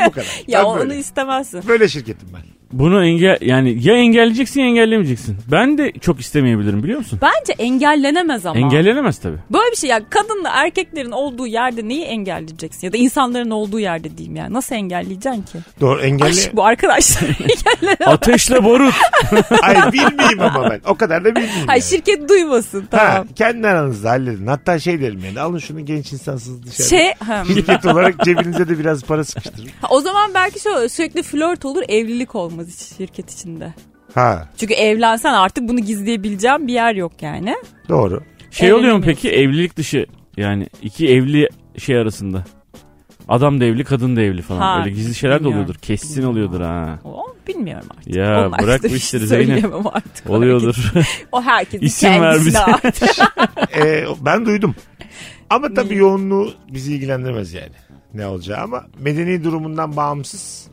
[SPEAKER 3] Bu kadar.
[SPEAKER 4] Ya
[SPEAKER 3] Ben
[SPEAKER 4] onu
[SPEAKER 3] böyle.
[SPEAKER 4] istemezsin.
[SPEAKER 3] Böyle şirketim ben.
[SPEAKER 5] Bunu engel yani ya engelleyeceksin ya engellemeyeceksin. Ben de çok istemeyebilirim biliyor musun?
[SPEAKER 4] Bence engellenemez ama.
[SPEAKER 5] Engellenemez tabii.
[SPEAKER 4] Böyle bir şey ya kadınla erkeklerin olduğu yerde neyi engelleyeceksin ya da insanların olduğu yerde diyeyim yani nasıl engelleyeceksin ki?
[SPEAKER 3] Doğru engelli.
[SPEAKER 5] Hani-
[SPEAKER 4] Aşk (laughs) bu arkadaşlar
[SPEAKER 5] (laughs)
[SPEAKER 4] engellenemez.
[SPEAKER 5] Ateşle barut.
[SPEAKER 3] Ay bilmeyeyim ama ben. O kadar da bilmeyeyim.
[SPEAKER 4] Hayır
[SPEAKER 3] yani.
[SPEAKER 4] şirket duymasın
[SPEAKER 3] Ha,
[SPEAKER 4] tamam.
[SPEAKER 3] kendi aranızda halledin. Hatta şey derim yani alın şunu genç insansız dışarı.
[SPEAKER 4] Şey, hem.
[SPEAKER 3] Şirket olarak cebinize de biraz para sıkıştırın.
[SPEAKER 4] Ha, o zaman belki şöyle olur, sürekli flört olur evlilik olmaz hiç şirket içinde.
[SPEAKER 3] Ha
[SPEAKER 4] Çünkü evlensen artık bunu gizleyebileceğim bir yer yok yani.
[SPEAKER 3] doğru.
[SPEAKER 5] Şey oluyor mu
[SPEAKER 4] Evlenemiyorsun.
[SPEAKER 5] peki evlilik dışı yani iki evli şey arasında. Adam da evli kadın da evli falan.
[SPEAKER 4] Ha,
[SPEAKER 5] Öyle gizli şeyler de
[SPEAKER 4] bilmiyorum.
[SPEAKER 5] oluyordur. Kessin
[SPEAKER 4] Bilmiyorum.
[SPEAKER 5] oluyordur ha.
[SPEAKER 4] O bilmiyorum artık.
[SPEAKER 5] Ya,
[SPEAKER 4] Onlar
[SPEAKER 5] bırak
[SPEAKER 4] işte
[SPEAKER 5] bu işleri
[SPEAKER 4] (laughs) söyleyemem artık. (laughs)
[SPEAKER 5] Oluyordur.
[SPEAKER 4] O herkesin
[SPEAKER 5] İsim ver bize.
[SPEAKER 4] kendisine artık.
[SPEAKER 3] E, Ee, ben duydum. Ama tabii yoğunluğu bizi ilgilendirmez yani. ne olacağı ama medeni durumundan bağımsız.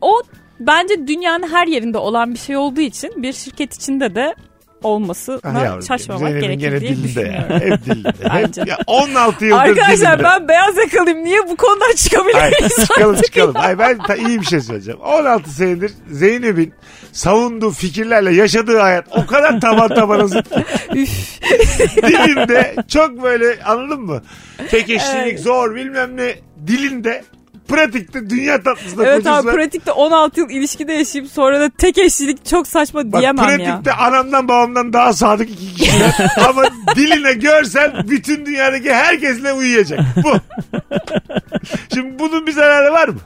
[SPEAKER 4] O bence dünyanın her yerinde olan bir şey olduğu için bir şirket içinde de olmasına
[SPEAKER 3] Ah yavrum,
[SPEAKER 4] şaşmamak
[SPEAKER 3] Zeynep'in
[SPEAKER 4] gerekir
[SPEAKER 3] gene
[SPEAKER 4] diye
[SPEAKER 3] dilinde
[SPEAKER 4] düşünüyorum.
[SPEAKER 3] ya. Hep dilinde.
[SPEAKER 4] Bence.
[SPEAKER 3] Hep, ya 16 yıldır
[SPEAKER 4] Arkadaşlar
[SPEAKER 3] dilinde.
[SPEAKER 4] ben beyaz yakalıyım. Niye bu konudan
[SPEAKER 3] Hayır,
[SPEAKER 4] çıkabiliriz?
[SPEAKER 3] çıkalım çıkalım. Hayır, ben ta- iyi bir şey söyleyeceğim. 16 senedir Zeynep'in savunduğu fikirlerle yaşadığı hayat o kadar taban tabana
[SPEAKER 4] (laughs)
[SPEAKER 3] zıt. ki.
[SPEAKER 4] (laughs) Üf.
[SPEAKER 3] (laughs) dilinde çok böyle anladın mı? Tek eşlilik zor bilmem ne dilinde pratikte dünya tatlısında
[SPEAKER 4] evet
[SPEAKER 3] kocası
[SPEAKER 4] abi
[SPEAKER 3] var.
[SPEAKER 4] pratikte 16 yıl ilişkide yaşayıp sonra da tek eşlilik çok saçma
[SPEAKER 3] Bak
[SPEAKER 4] diyemem ya.
[SPEAKER 3] pratikte anamdan babamdan daha sadık iki kişi
[SPEAKER 4] (laughs)
[SPEAKER 3] var. ama diline görsen bütün dünyadaki herkesle uyuyacak. Bu. Şimdi bunun bir zararı var mı?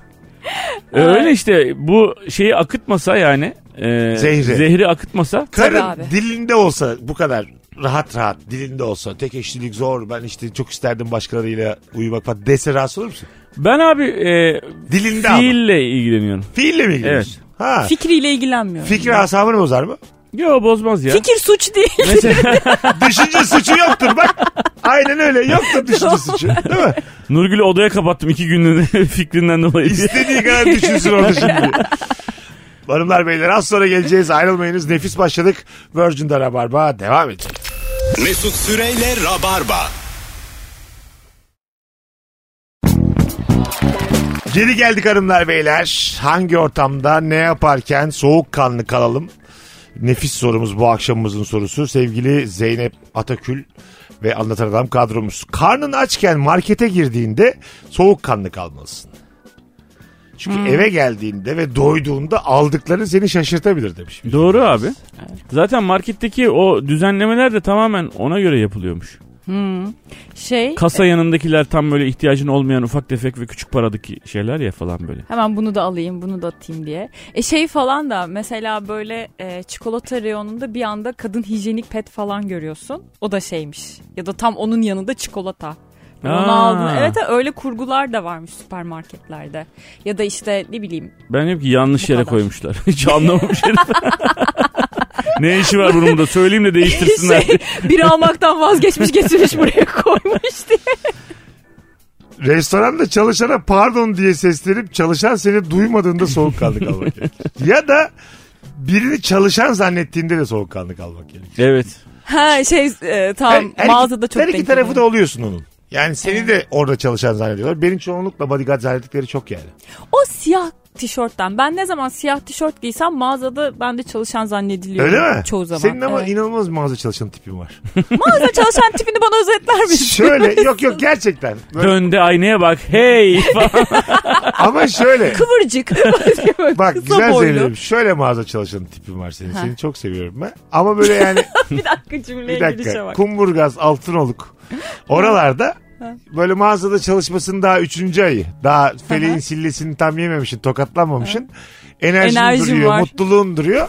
[SPEAKER 5] E, (laughs) Öyle işte bu şeyi akıtmasa yani. e,
[SPEAKER 3] Zehri.
[SPEAKER 5] akıtmasa.
[SPEAKER 4] abi.
[SPEAKER 3] Karın dilinde olsa bu kadar rahat rahat dilinde olsa tek eşlilik zor ben işte çok isterdim başkalarıyla uyumak falan dese rahatsız olur musun? Ben
[SPEAKER 5] Ben abi e,
[SPEAKER 3] Dilinde ama.
[SPEAKER 5] fiille ilgileniyorum.
[SPEAKER 3] Fiille mi ilgileniyorsun? Ha.
[SPEAKER 4] Fikriyle ilgilenmiyorum.
[SPEAKER 3] Fikri asabını bozar mı?
[SPEAKER 5] Yo bozmaz ya.
[SPEAKER 4] Fikir suç değil.
[SPEAKER 5] Mesela (laughs)
[SPEAKER 3] Düşünce suçu yoktur bak. Aynen öyle yoktur düşünce suçu. Değil mi?
[SPEAKER 5] Nurgül'ü odaya kapattım iki günlüğüne (laughs) fikrinden dolayı.
[SPEAKER 3] İstediği kadar düşünsün orada şimdi. Hanımlar beyler az sonra geleceğiz ayrılmayınız. Nefis başladık. Virgin'de Rabarba devam edecek.
[SPEAKER 2] Mesut Süreyle Rabarba.
[SPEAKER 3] Geri geldik hanımlar beyler. Hangi ortamda ne yaparken soğukkanlı kalalım? Nefis sorumuz bu akşamımızın sorusu. Sevgili Zeynep Atakül ve Anlatan Adam kadromuz. Karnın açken markete girdiğinde soğukkanlı kalmalısın. Çünkü eve geldiğinde ve doyduğunda aldıkların seni şaşırtabilir demiş.
[SPEAKER 5] Doğru abi. Zaten marketteki o düzenlemeler de tamamen ona göre yapılıyormuş.
[SPEAKER 4] Şey
[SPEAKER 5] Kasa yanındakiler tam böyle ihtiyacın olmayan ufak tefek ve küçük paradaki şeyler ya falan böyle.
[SPEAKER 4] Hemen bunu da alayım, bunu da atayım diye. E şey falan da mesela böyle e, çikolata reyonunda bir anda kadın hijyenik pet falan görüyorsun. O da şeymiş. Ya da tam onun yanında çikolata. Onu
[SPEAKER 5] Aa.
[SPEAKER 4] aldın. Evet evet, öyle kurgular da varmış süpermarketlerde. Ya da işte
[SPEAKER 3] (laughs)
[SPEAKER 4] ne bileyim.
[SPEAKER 5] Ben diyorum ki yanlış
[SPEAKER 4] Bu
[SPEAKER 5] yere
[SPEAKER 4] kadar.
[SPEAKER 5] koymuşlar. (laughs) Hiç anlamamış herif.
[SPEAKER 4] (laughs)
[SPEAKER 5] ne işi var bunun da söyleyeyim de
[SPEAKER 4] (laughs)
[SPEAKER 5] değiştirsinler.
[SPEAKER 4] Şey, bir almaktan vazgeçmiş getirmiş
[SPEAKER 3] (laughs)
[SPEAKER 4] buraya koymuş diye.
[SPEAKER 3] Restoranda çalışana pardon diye seslenip çalışan seni duymadığında soğukkanlı kalmak gerekir. Ya da birini çalışan zannettiğinde de soğukkanlı kalmak gerekir.
[SPEAKER 5] Evet.
[SPEAKER 4] Ha şey e, tam
[SPEAKER 3] Her- her
[SPEAKER 4] mağazada
[SPEAKER 3] iki-
[SPEAKER 4] çok
[SPEAKER 3] Her iki
[SPEAKER 4] denk
[SPEAKER 3] tarafı da
[SPEAKER 4] geliyor.
[SPEAKER 3] oluyorsun onun. Yani seni de orada çalışan zannediyorlar. Benim çoğunlukla bodyguard zannettikleri çok yani.
[SPEAKER 4] O siyah tişörtten. Ben ne zaman siyah tişört giysem mağazada ben de çalışan zannediliyor.
[SPEAKER 3] Öyle mi?
[SPEAKER 4] Çoğu zaman.
[SPEAKER 3] Senin ama
[SPEAKER 4] Evet.
[SPEAKER 3] inanılmaz mağaza çalışan tipin
[SPEAKER 4] (laughs)
[SPEAKER 3] var.
[SPEAKER 4] Mağaza çalışan tipini bana özetler misin?
[SPEAKER 3] şöyle yok yok gerçekten. Böyle-
[SPEAKER 5] Döndü aynaya bak
[SPEAKER 4] (laughs)
[SPEAKER 5] hey falan.
[SPEAKER 3] ama şöyle.
[SPEAKER 5] (laughs)
[SPEAKER 4] Kıvırcık.
[SPEAKER 3] Bak
[SPEAKER 4] Kısa
[SPEAKER 3] güzel
[SPEAKER 4] boylu.
[SPEAKER 3] seviyorum. Şöyle mağaza çalışan tipin var senin. Seni çok seviyorum ben. Ama böyle yani
[SPEAKER 4] Bir şey dakika cümleye
[SPEAKER 3] bir
[SPEAKER 4] girişe
[SPEAKER 3] dakika.
[SPEAKER 4] bak.
[SPEAKER 3] Kumburgaz, Altınoluk.
[SPEAKER 4] (laughs)
[SPEAKER 3] Oralarda böyle mağazada çalışmasının daha üçüncü ayı. Daha feleğin sillesini tam yememişsin, tokatlanmamışsın. Enerjin,
[SPEAKER 4] Enerjin
[SPEAKER 3] duruyor,
[SPEAKER 4] var.
[SPEAKER 3] mutluluğun duruyor.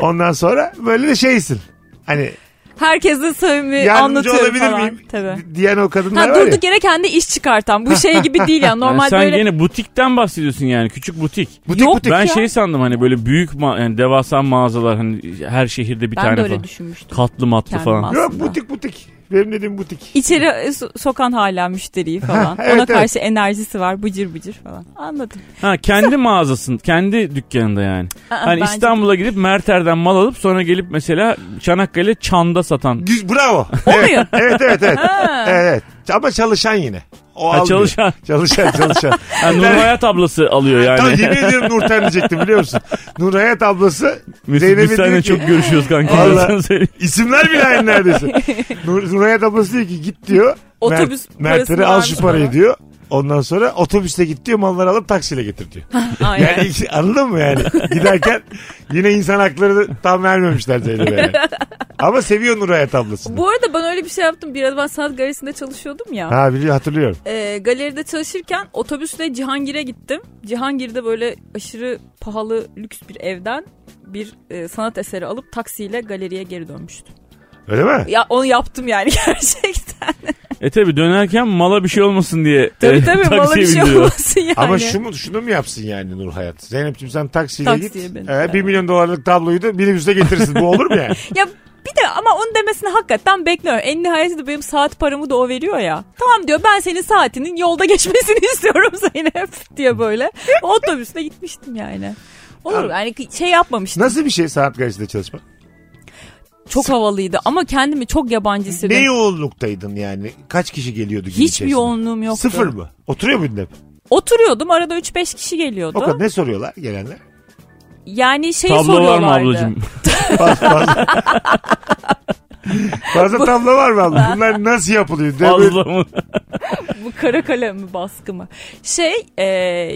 [SPEAKER 3] Ondan sonra böyle de şeysin.
[SPEAKER 4] (laughs)
[SPEAKER 3] Hani
[SPEAKER 4] Herkese samimi
[SPEAKER 3] yardımcı
[SPEAKER 4] E, anlatıyorum
[SPEAKER 3] olabilir
[SPEAKER 4] falan.
[SPEAKER 3] miyim?
[SPEAKER 4] Tabii.
[SPEAKER 3] di- Diyen o kadınlar
[SPEAKER 4] Ha
[SPEAKER 3] var ya.
[SPEAKER 4] durduk yere kendi iş çıkartan. Bu şey gibi değil
[SPEAKER 5] (laughs)
[SPEAKER 4] ya.
[SPEAKER 5] Yani
[SPEAKER 4] Normal
[SPEAKER 5] sen
[SPEAKER 4] böyle
[SPEAKER 5] gene butikten bahsediyorsun yani küçük butik.
[SPEAKER 3] Butik
[SPEAKER 4] Yok
[SPEAKER 3] butik.
[SPEAKER 5] ben
[SPEAKER 4] ya.
[SPEAKER 5] şey sandım hani böyle büyük ma- yani devasa mağazalar hani her şehirde bir
[SPEAKER 4] ben
[SPEAKER 5] tane
[SPEAKER 4] de öyle
[SPEAKER 5] falan.
[SPEAKER 4] düşünmüştüm.
[SPEAKER 5] Katlı matlı
[SPEAKER 4] Kendim
[SPEAKER 5] falan.
[SPEAKER 4] aldım.
[SPEAKER 3] Yok
[SPEAKER 4] aslında.
[SPEAKER 3] butik butik. Benim dediğim butik.
[SPEAKER 4] İçeri e, so- sokan hala müşteriyi falan.
[SPEAKER 3] evet,
[SPEAKER 4] Ona
[SPEAKER 3] evet.
[SPEAKER 4] karşı enerjisi var. Bıcır bıcır falan. Anladım.
[SPEAKER 5] Ha kendi mağazasın, kendi dükkanında yani.
[SPEAKER 4] Aa,
[SPEAKER 5] hani
[SPEAKER 4] bence-
[SPEAKER 5] İstanbul'a gidip Merter'den mal alıp sonra gelip mesela Çanakkale
[SPEAKER 4] (laughs)
[SPEAKER 5] çanda satan.
[SPEAKER 3] Güz- Bravo. Evet, evet evet evet. evet. Ama çalışan yine. O
[SPEAKER 5] Ha,
[SPEAKER 3] almıyor.
[SPEAKER 5] çalışan.
[SPEAKER 3] Çalışan
[SPEAKER 4] (laughs)
[SPEAKER 3] çalışan.
[SPEAKER 5] Ha, Nur Hayat ablası alıyor (laughs)
[SPEAKER 3] Tam
[SPEAKER 5] yani.
[SPEAKER 3] yemin ediyorum Nurten diyecektim biliyor musun? Nurhayat ablası
[SPEAKER 5] Mesut
[SPEAKER 3] Zeynep'e
[SPEAKER 5] biz seninle
[SPEAKER 3] diyor ki,
[SPEAKER 5] çok görüşüyoruz kanka.
[SPEAKER 3] Vallahi.
[SPEAKER 5] ben sana söyleyeyim.
[SPEAKER 3] isimler bile aynı neredeyse.
[SPEAKER 4] (laughs)
[SPEAKER 3] Nur, Nurhayat ablası diyor ki git diyor.
[SPEAKER 4] Otobüs
[SPEAKER 3] Mert- Mert'e
[SPEAKER 4] parasını
[SPEAKER 3] al şu
[SPEAKER 4] vermiş
[SPEAKER 3] parayı
[SPEAKER 4] bana.
[SPEAKER 3] diyor. Ondan sonra otobüste git diyor malları alıp taksiyle getir diyor.
[SPEAKER 4] Aynen.
[SPEAKER 3] Yani iki- anladın mı yani? Giderken yine insan hakları tam vermemişler Zeynep'e.
[SPEAKER 4] (laughs)
[SPEAKER 3] yani. Ama seviyor Nurhayat ablasını.
[SPEAKER 4] Bu arada ben öyle bir şey yaptım. Bir ara ben sanat galerisinde çalışıyordum ya.
[SPEAKER 3] Ha biliyor hatırlıyorum.
[SPEAKER 4] e, galeride çalışırken otobüsle Cihangir'e gittim. Cihangir'de böyle aşırı pahalı lüks bir evden bir e, sanat eseri alıp taksiyle galeriye geri dönmüştüm.
[SPEAKER 3] Öyle mi?
[SPEAKER 4] Ya onu yaptım yani (laughs) gerçekten.
[SPEAKER 5] E tabi dönerken mala bir şey olmasın diye
[SPEAKER 4] Tabii
[SPEAKER 5] e,
[SPEAKER 4] tabii bana bir
[SPEAKER 5] taksiye
[SPEAKER 4] şey
[SPEAKER 5] bindiriyor.
[SPEAKER 4] olmasın yani.
[SPEAKER 3] Ama şu mu, şunu mu yapsın yani Nurhayat? Zeynep'ciğim sen taksiyle
[SPEAKER 4] Taksiye
[SPEAKER 3] git.
[SPEAKER 4] bin.
[SPEAKER 3] Ee, 1 milyon dolarlık tabloyu da minibüste getirsin. Bu olur mu yani?
[SPEAKER 4] Ya Bir de ama onu demesini hakikaten bekliyorum. En nihayetinde benim saat paramı da o veriyor ya. Tamam diyor ben senin saatinin yolda geçmesini (laughs) istiyorum Zeynep diye böyle. O Otobüsle gitmiştim yani. Olur yani şey yapmamıştım.
[SPEAKER 3] Nasıl bir şey sanat galerisinde çalışmak?
[SPEAKER 4] Çok havalıydı ama kendimi çok yabancı
[SPEAKER 3] Ne
[SPEAKER 4] hissediyorum.
[SPEAKER 3] yoğunluktaydın yani? Kaç kişi geliyordu gün
[SPEAKER 4] Hiçbir
[SPEAKER 3] içerisinde?
[SPEAKER 4] yoğunluğum yoktu.
[SPEAKER 3] Sıfır mı? Oturuyor muydun hep?
[SPEAKER 4] Oturuyordum arada 3-5 kişi geliyordu.
[SPEAKER 3] O kadar ne soruyorlar gelenler?
[SPEAKER 4] Yani şeyi
[SPEAKER 5] Tablo var
[SPEAKER 4] soruyorlardı.
[SPEAKER 5] mı ablacığım?
[SPEAKER 4] (laughs)
[SPEAKER 3] Fazla tablo var mı abla? Bunlar nasıl yapılıyor? Diye böyle-
[SPEAKER 5] Fazla mı?
[SPEAKER 4] (laughs) Bu kara kalem mi baskı mı? Şey e,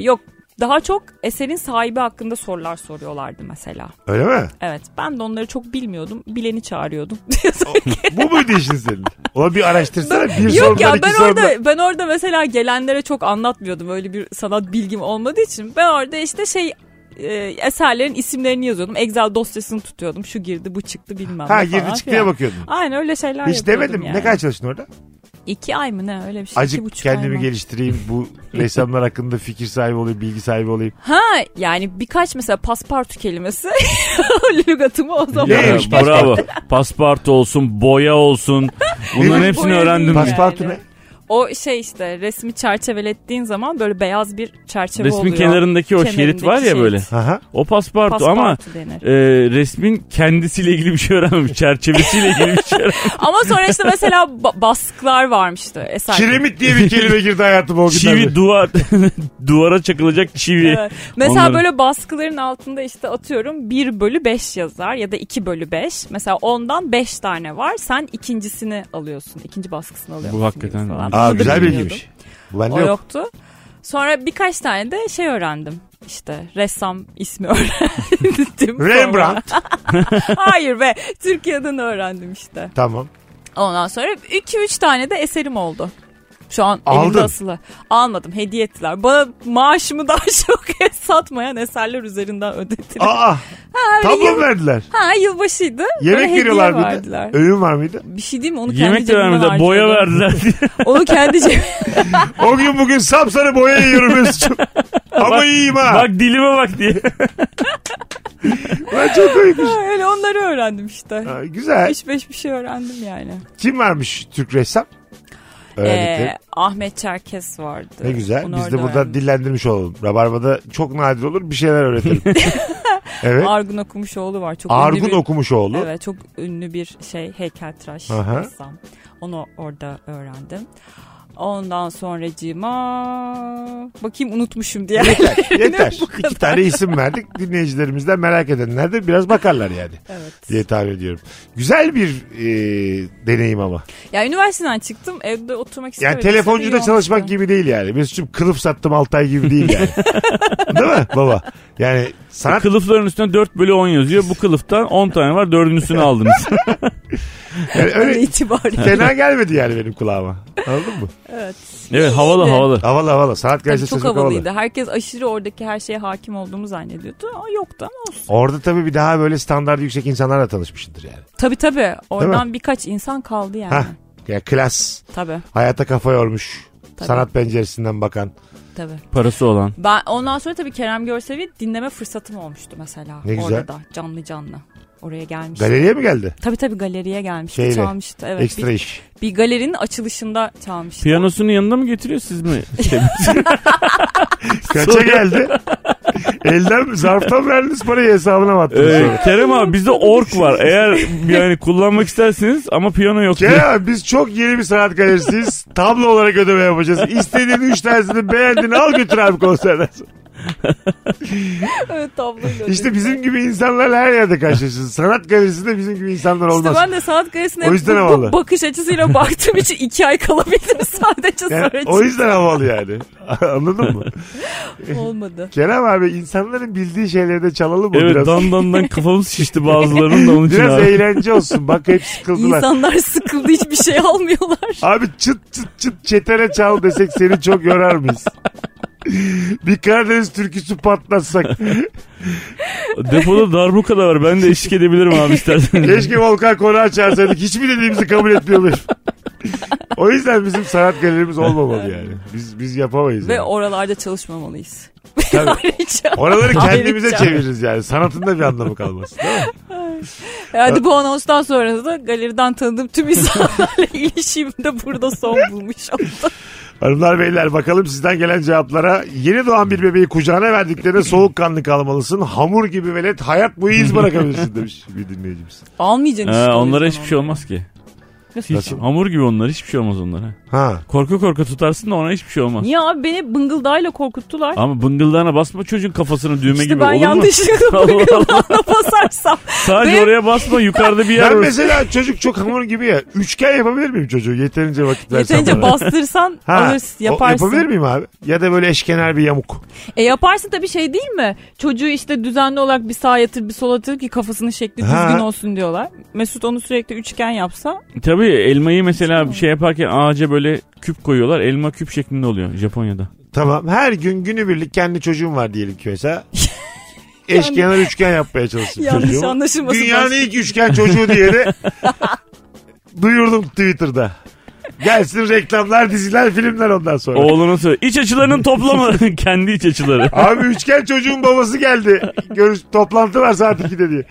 [SPEAKER 4] yok daha çok eserin sahibi hakkında sorular soruyorlardı mesela.
[SPEAKER 3] Öyle mi?
[SPEAKER 4] Evet ben de onları çok bilmiyordum. Bileni çağırıyordum. (laughs)
[SPEAKER 3] Bu muydu işin senin? Ulan bir araştırsana bir
[SPEAKER 4] Yok
[SPEAKER 3] sorudan
[SPEAKER 4] ya
[SPEAKER 3] iki
[SPEAKER 4] ben
[SPEAKER 3] sorudan.
[SPEAKER 4] orada ben orada mesela gelenlere çok anlatmıyordum. Öyle bir sanat bilgim olmadığı için. Ben orada işte şey e, eserlerin isimlerini yazıyordum. Excel dosyasını tutuyordum. Şu girdi bu çıktı bilmem
[SPEAKER 3] Ha
[SPEAKER 4] ne falan
[SPEAKER 3] girdi çıktıya
[SPEAKER 4] filan.
[SPEAKER 3] bakıyordun.
[SPEAKER 4] Aynen öyle şeyler
[SPEAKER 3] Hiç
[SPEAKER 4] yapıyordum
[SPEAKER 3] demedim.
[SPEAKER 4] yani.
[SPEAKER 3] Ne kadar çalıştın orada?
[SPEAKER 4] İki ay mı ne öyle bir şey. iki
[SPEAKER 3] Acık
[SPEAKER 4] buçuk
[SPEAKER 3] kendimi
[SPEAKER 4] ay mı?
[SPEAKER 3] geliştireyim.
[SPEAKER 4] (laughs)
[SPEAKER 3] Bu ressamlar hakkında fikir sahibi olayım, bilgi sahibi olayım.
[SPEAKER 4] Ha yani birkaç mesela paspartu kelimesi (laughs) lügatımı o zaman.
[SPEAKER 5] Ya,
[SPEAKER 3] Neymiş
[SPEAKER 5] (laughs) bravo. Pasport olsun, boya olsun. Bunların
[SPEAKER 3] Neymiş
[SPEAKER 5] hepsini
[SPEAKER 4] boya
[SPEAKER 5] öğrendim.
[SPEAKER 4] değil
[SPEAKER 5] ben.
[SPEAKER 4] ya.
[SPEAKER 3] Paspartu
[SPEAKER 4] Yani.
[SPEAKER 3] ne?
[SPEAKER 4] O şey işte resmi çerçevelettiğin zaman böyle beyaz bir çerçeve
[SPEAKER 5] Resmin
[SPEAKER 4] oluyor.
[SPEAKER 5] kenarındaki o şerit
[SPEAKER 4] Kenarındaki
[SPEAKER 5] var ya
[SPEAKER 4] şerit.
[SPEAKER 5] böyle.
[SPEAKER 3] Aha.
[SPEAKER 5] O paspartu,
[SPEAKER 4] Paspartu
[SPEAKER 5] ama
[SPEAKER 4] denir.
[SPEAKER 5] e, resmin kendisiyle ilgili bir şey öğrenmemiş. Çerçevesiyle ilgili bir şey öğrenmemiş.
[SPEAKER 4] Ama sonra işte mesela ba- baskılar varmıştı eser.
[SPEAKER 3] Kiremit diye bir
[SPEAKER 4] (laughs)
[SPEAKER 3] kelime girdi hayatıma o günden beri.
[SPEAKER 5] Çivi duvar. (laughs) Duvara çakılacak çivi. (laughs)
[SPEAKER 4] Evet. Mesela
[SPEAKER 5] Onların-
[SPEAKER 4] böyle baskıların altında işte atıyorum 1 bölü 5 yazar ya da 2 bölü 5. Mesela ondan 5 tane var. Sen ikincisini alıyorsun. ikinci baskısını alıyorsun. gibi
[SPEAKER 5] hakikaten- şey
[SPEAKER 4] falan.
[SPEAKER 5] Aa,
[SPEAKER 4] Bunu
[SPEAKER 3] Aa
[SPEAKER 4] da
[SPEAKER 3] güzel
[SPEAKER 4] bilmiyordum.
[SPEAKER 3] bilgiymiş. Bu bende
[SPEAKER 4] O
[SPEAKER 3] yok.
[SPEAKER 4] yoktu. Sonra birkaç tane de şey öğrendim. İşte ressam ismi (laughs) öğrendim.
[SPEAKER 3] (laughs)
[SPEAKER 4] sonra.
[SPEAKER 3] Rembrandt.
[SPEAKER 4] Hayır be. Türkiye'den öğrendim işte.
[SPEAKER 3] Tamam.
[SPEAKER 4] Ondan sonra 2-3 tane de eserim oldu. Şu an
[SPEAKER 3] Aldın.
[SPEAKER 4] elimde asılı. Almadım. Hediye ettiler. Bana maaşımı (laughs) daha çok satmayan eserler üzerinden ödediler.
[SPEAKER 3] Aa. Tablo mu verdiler.
[SPEAKER 4] Ha yılbaşıydı. Böyle
[SPEAKER 3] Yemek
[SPEAKER 4] hediye
[SPEAKER 3] veriyorlar bir de.
[SPEAKER 4] verdiler.
[SPEAKER 3] Öğün var mıydı?
[SPEAKER 4] Bir şey diyeyim mi? Onu kendi
[SPEAKER 5] Yemek de
[SPEAKER 4] cebimden
[SPEAKER 5] vermediler. Boya
[SPEAKER 3] (laughs)
[SPEAKER 4] harcadım.
[SPEAKER 5] verdiler.
[SPEAKER 4] Onu kendi cebimden.
[SPEAKER 3] O gün bugün sapsarı boya yiyorum Mesut'cum.
[SPEAKER 4] (laughs)
[SPEAKER 3] Ama iyiyim ha.
[SPEAKER 5] bak dilime bak diye.
[SPEAKER 3] Ben çok koymuş.
[SPEAKER 4] Öyle onları öğrendim işte.
[SPEAKER 3] Güzel.
[SPEAKER 4] 3-5 bir şey öğrendim yani.
[SPEAKER 3] Kim varmış Türk ressam? Öğrendikleri.
[SPEAKER 4] Ee, Ahmet Çerkes vardı.
[SPEAKER 3] ne güzel.
[SPEAKER 4] Onu
[SPEAKER 3] Biz de
[SPEAKER 4] orada
[SPEAKER 3] buradan
[SPEAKER 4] öğrendim.
[SPEAKER 3] dillendirmiş olalım. Rabarba'da çok nadir olur bir şeyler
[SPEAKER 4] (laughs)
[SPEAKER 3] öğretelim. evet.
[SPEAKER 4] Argun Okumuşoğlu var. Çok
[SPEAKER 3] Argun
[SPEAKER 4] ünlü bir,
[SPEAKER 3] Okumuşoğlu.
[SPEAKER 4] Evet çok ünlü bir şey heykeltıraş
[SPEAKER 3] Aha.
[SPEAKER 4] ressam. Onu orada öğrendim. Ondan sonracığıma bakayım unutmuşum diye.
[SPEAKER 3] (laughs) Yeter.
[SPEAKER 4] Bu kadar.
[SPEAKER 3] İki tane isim verdik. Dinleyicilerimizden merak edenler de biraz bakarlar yani.
[SPEAKER 4] evet.
[SPEAKER 3] Diye tahmin ediyorum. Güzel bir e, deneyim ama.
[SPEAKER 4] (laughs) Ya üniversiteden çıktım evde oturmak
[SPEAKER 3] Yani
[SPEAKER 4] istemedim.
[SPEAKER 3] telefoncuda
[SPEAKER 4] İyi
[SPEAKER 3] çalışmak
[SPEAKER 4] olmuştu.
[SPEAKER 3] gibi değil yani. Mesut'cum kılıf sattım Altay gibi değil
[SPEAKER 4] (laughs)
[SPEAKER 3] yani. değil mi baba? Yani sanat
[SPEAKER 5] Kılıfların üstüne 4 bölü 10 yazıyor. Bu kılıftan 10 tane var.
[SPEAKER 3] (laughs)
[SPEAKER 5] Dördüncüsünü aldınız.
[SPEAKER 3] yani
[SPEAKER 4] Öyle
[SPEAKER 3] öyle
[SPEAKER 4] itibariyle.
[SPEAKER 3] fena gelmedi yani benim kulağıma. Anladın mı?
[SPEAKER 5] evet havalı havalı.
[SPEAKER 3] Havalı havalı. Sanat
[SPEAKER 4] Tabii
[SPEAKER 3] gazetesi
[SPEAKER 4] çok
[SPEAKER 3] çok
[SPEAKER 4] havalıydı.
[SPEAKER 3] havalı.
[SPEAKER 4] Herkes aşırı oradaki her şeye hakim olduğumu zannediyordu. Ama yoktu ama olsun.
[SPEAKER 3] Orada tabii bir daha böyle standart yüksek insanlarla tanışmışsındır yani.
[SPEAKER 4] Tabii tabii. Oradan birkaç insan kaldı yani.
[SPEAKER 3] Hah. Ya klas,
[SPEAKER 4] Tabii
[SPEAKER 3] hayata kafa yormuş,
[SPEAKER 4] Tabii.
[SPEAKER 3] sanat penceresinden bakan.
[SPEAKER 4] tabii.
[SPEAKER 5] Parası olan.
[SPEAKER 4] Ben ondan sonra tabii Kerem Görsel'i dinleme fırsatım olmuştu mesela.
[SPEAKER 3] Ne güzel.
[SPEAKER 4] Orada da canlı canlı. Oraya gelmişti.
[SPEAKER 3] Galeriye mi geldi?
[SPEAKER 4] Tabii tabii galeriye gelmişti
[SPEAKER 3] Şeyle,
[SPEAKER 4] çalmıştı. Evet,
[SPEAKER 3] Ekstra
[SPEAKER 4] bir,
[SPEAKER 3] iş.
[SPEAKER 4] bir galerinin açılışında çalmıştı.
[SPEAKER 5] Piyanosunun yanında mı getiriyor
[SPEAKER 3] (laughs)
[SPEAKER 5] siz mi?
[SPEAKER 3] Şey, Kaça
[SPEAKER 4] (laughs)
[SPEAKER 3] geldi? Elden mi? Zarftan mı verdiniz parayı hesabına mı attınız?
[SPEAKER 5] Ee,
[SPEAKER 3] sonra?
[SPEAKER 5] Kerem abi bizde ork var. Eğer yani kullanmak isterseniz ama piyano yok. diye.
[SPEAKER 3] Kerem abi, biz çok yeni bir sanat
[SPEAKER 5] (laughs)
[SPEAKER 3] galerisiyiz. Tablo olarak ödeme yapacağız. İstediğin üç tanesini beğendiğini al götür abi konserden sonra.
[SPEAKER 4] evet tabloyla.
[SPEAKER 3] İşte bizim gibi insanlarla her yerde karşılaşırsın. Sanat galerisinde bizim gibi insanlar olmaz.
[SPEAKER 4] İşte ben de sanat galerisine
[SPEAKER 3] O yüzden
[SPEAKER 4] bu- bu
[SPEAKER 3] havalı.
[SPEAKER 4] bakış açısıyla baktığım için iki ay kalabildim (laughs) sadece
[SPEAKER 3] Yani
[SPEAKER 4] sonra
[SPEAKER 3] o yüzden havalı yani. (laughs) Anladın mı?
[SPEAKER 4] çıktım. olmadı.
[SPEAKER 3] Kerem abi insanların bildiği şeyleri de çalalım mı
[SPEAKER 5] Evet
[SPEAKER 3] biraz?
[SPEAKER 5] dan dan dan kafamız şişti bazılarının da onun
[SPEAKER 3] (laughs)
[SPEAKER 5] için
[SPEAKER 3] Biraz
[SPEAKER 5] abi.
[SPEAKER 3] eğlence olsun. Bak hep sıkıldılar.
[SPEAKER 4] İnsanlar sıkıldı hiçbir
[SPEAKER 3] (laughs)
[SPEAKER 4] şey almıyorlar.
[SPEAKER 3] Abi çıt çıt çıt çetere çal desek seni çok yorar
[SPEAKER 5] (laughs)
[SPEAKER 3] mıyız? bir Karadeniz türküsü patlatsak.
[SPEAKER 5] Depoda darbuka da var. Ben de eşlik edebilirim abi isterseniz.
[SPEAKER 3] Keşke Volkan Konağı çağırsaydık. Hiçbir dediğimizi kabul etmiyorlar. o yüzden bizim sanat galerimiz olmamalı yani. Biz biz yapamayız.
[SPEAKER 4] Ve
[SPEAKER 3] yani.
[SPEAKER 4] oralarda çalışmamalıyız.
[SPEAKER 3] Tabii.
[SPEAKER 4] (laughs) Ayrıca.
[SPEAKER 3] Oraları kendimize
[SPEAKER 4] Ayrıca.
[SPEAKER 3] çeviririz yani. Sanatın da bir anlamı kalmaz. Değil mi?
[SPEAKER 4] Hadi bu anonstan sonra da galeriden tanıdığım
[SPEAKER 3] (laughs)
[SPEAKER 4] tüm insanlarla ilişkim de burada son bulmuş oldu.
[SPEAKER 3] Hanımlar beyler bakalım sizden gelen cevaplara. Yeni doğan bir bebeği kucağına verdiklerine soğukkanlı kalmalısın. Hamur gibi velet hayat boyu iz bırakabilirsin demiş bir dinleyicimiz.
[SPEAKER 4] Almayacaksın
[SPEAKER 5] Ee,
[SPEAKER 4] işte. o
[SPEAKER 5] onlara
[SPEAKER 4] yüzden
[SPEAKER 5] hiçbir şey olmaz ki.
[SPEAKER 4] Nasıl?
[SPEAKER 5] Hiç. Hamur gibi onlar hiçbir şey olmaz onlara.
[SPEAKER 3] Ha.
[SPEAKER 5] Korku korku tutarsın da ona hiçbir şey olmaz.
[SPEAKER 4] Niye abi beni bıngıldağıyla korkuttular?
[SPEAKER 5] Ama bıngıldağına basma çocuğun kafasını düğme
[SPEAKER 4] işte
[SPEAKER 5] gibi
[SPEAKER 4] ben
[SPEAKER 5] olur mu?
[SPEAKER 3] (laughs)
[SPEAKER 4] yanlışlıkla
[SPEAKER 5] Allah
[SPEAKER 4] bıngıldağına basarsam.
[SPEAKER 5] Sadece
[SPEAKER 4] Benim-
[SPEAKER 5] oraya basma yukarıda bir yer
[SPEAKER 3] Ben
[SPEAKER 5] var.
[SPEAKER 3] mesela çocuk çok hamur gibi ya. Üçgen yapabilir miyim çocuğu yeterince vakit versem?
[SPEAKER 4] Yeterince
[SPEAKER 3] bana?
[SPEAKER 4] bastırsan
[SPEAKER 3] Ha,
[SPEAKER 4] alırsın
[SPEAKER 3] o-
[SPEAKER 4] yaparsın.
[SPEAKER 3] Yapabilir miyim abi? Ya da böyle eşkenar bir yamuk.
[SPEAKER 4] E yaparsın tabii şey değil mi? Çocuğu işte düzenli olarak bir sağa yatır bir sola yatır ki kafasının şekli
[SPEAKER 3] Ha.
[SPEAKER 4] düzgün olsun diyorlar. Mesut onu sürekli üçgen yapsa
[SPEAKER 5] Tabii elmayı mesela bir şey yaparken ağaca böyle küp koyuyorlar. Elma küp şeklinde oluyor Japonya'da.
[SPEAKER 3] Tamam her gün günübirlik kendi çocuğum var diyelim ki
[SPEAKER 4] (laughs)
[SPEAKER 3] mesela. Eşkenar üçgen yapmaya çalıştım
[SPEAKER 4] Yanlış
[SPEAKER 3] çocuğumu.
[SPEAKER 4] anlaşılmasın
[SPEAKER 3] Dünyanın
[SPEAKER 4] başka.
[SPEAKER 3] ilk üçgen çocuğu diye
[SPEAKER 4] (laughs)
[SPEAKER 3] de duyurdum Twitter'da. Gelsin reklamlar, diziler, filmler ondan sonra.
[SPEAKER 5] Oğluna söyle. İç
[SPEAKER 3] (laughs)
[SPEAKER 5] açılarının toplamı. (laughs) Kendi iç açıları.
[SPEAKER 3] Abi üçgen çocuğun babası geldi. Görüş toplantı var saat 2'de diye.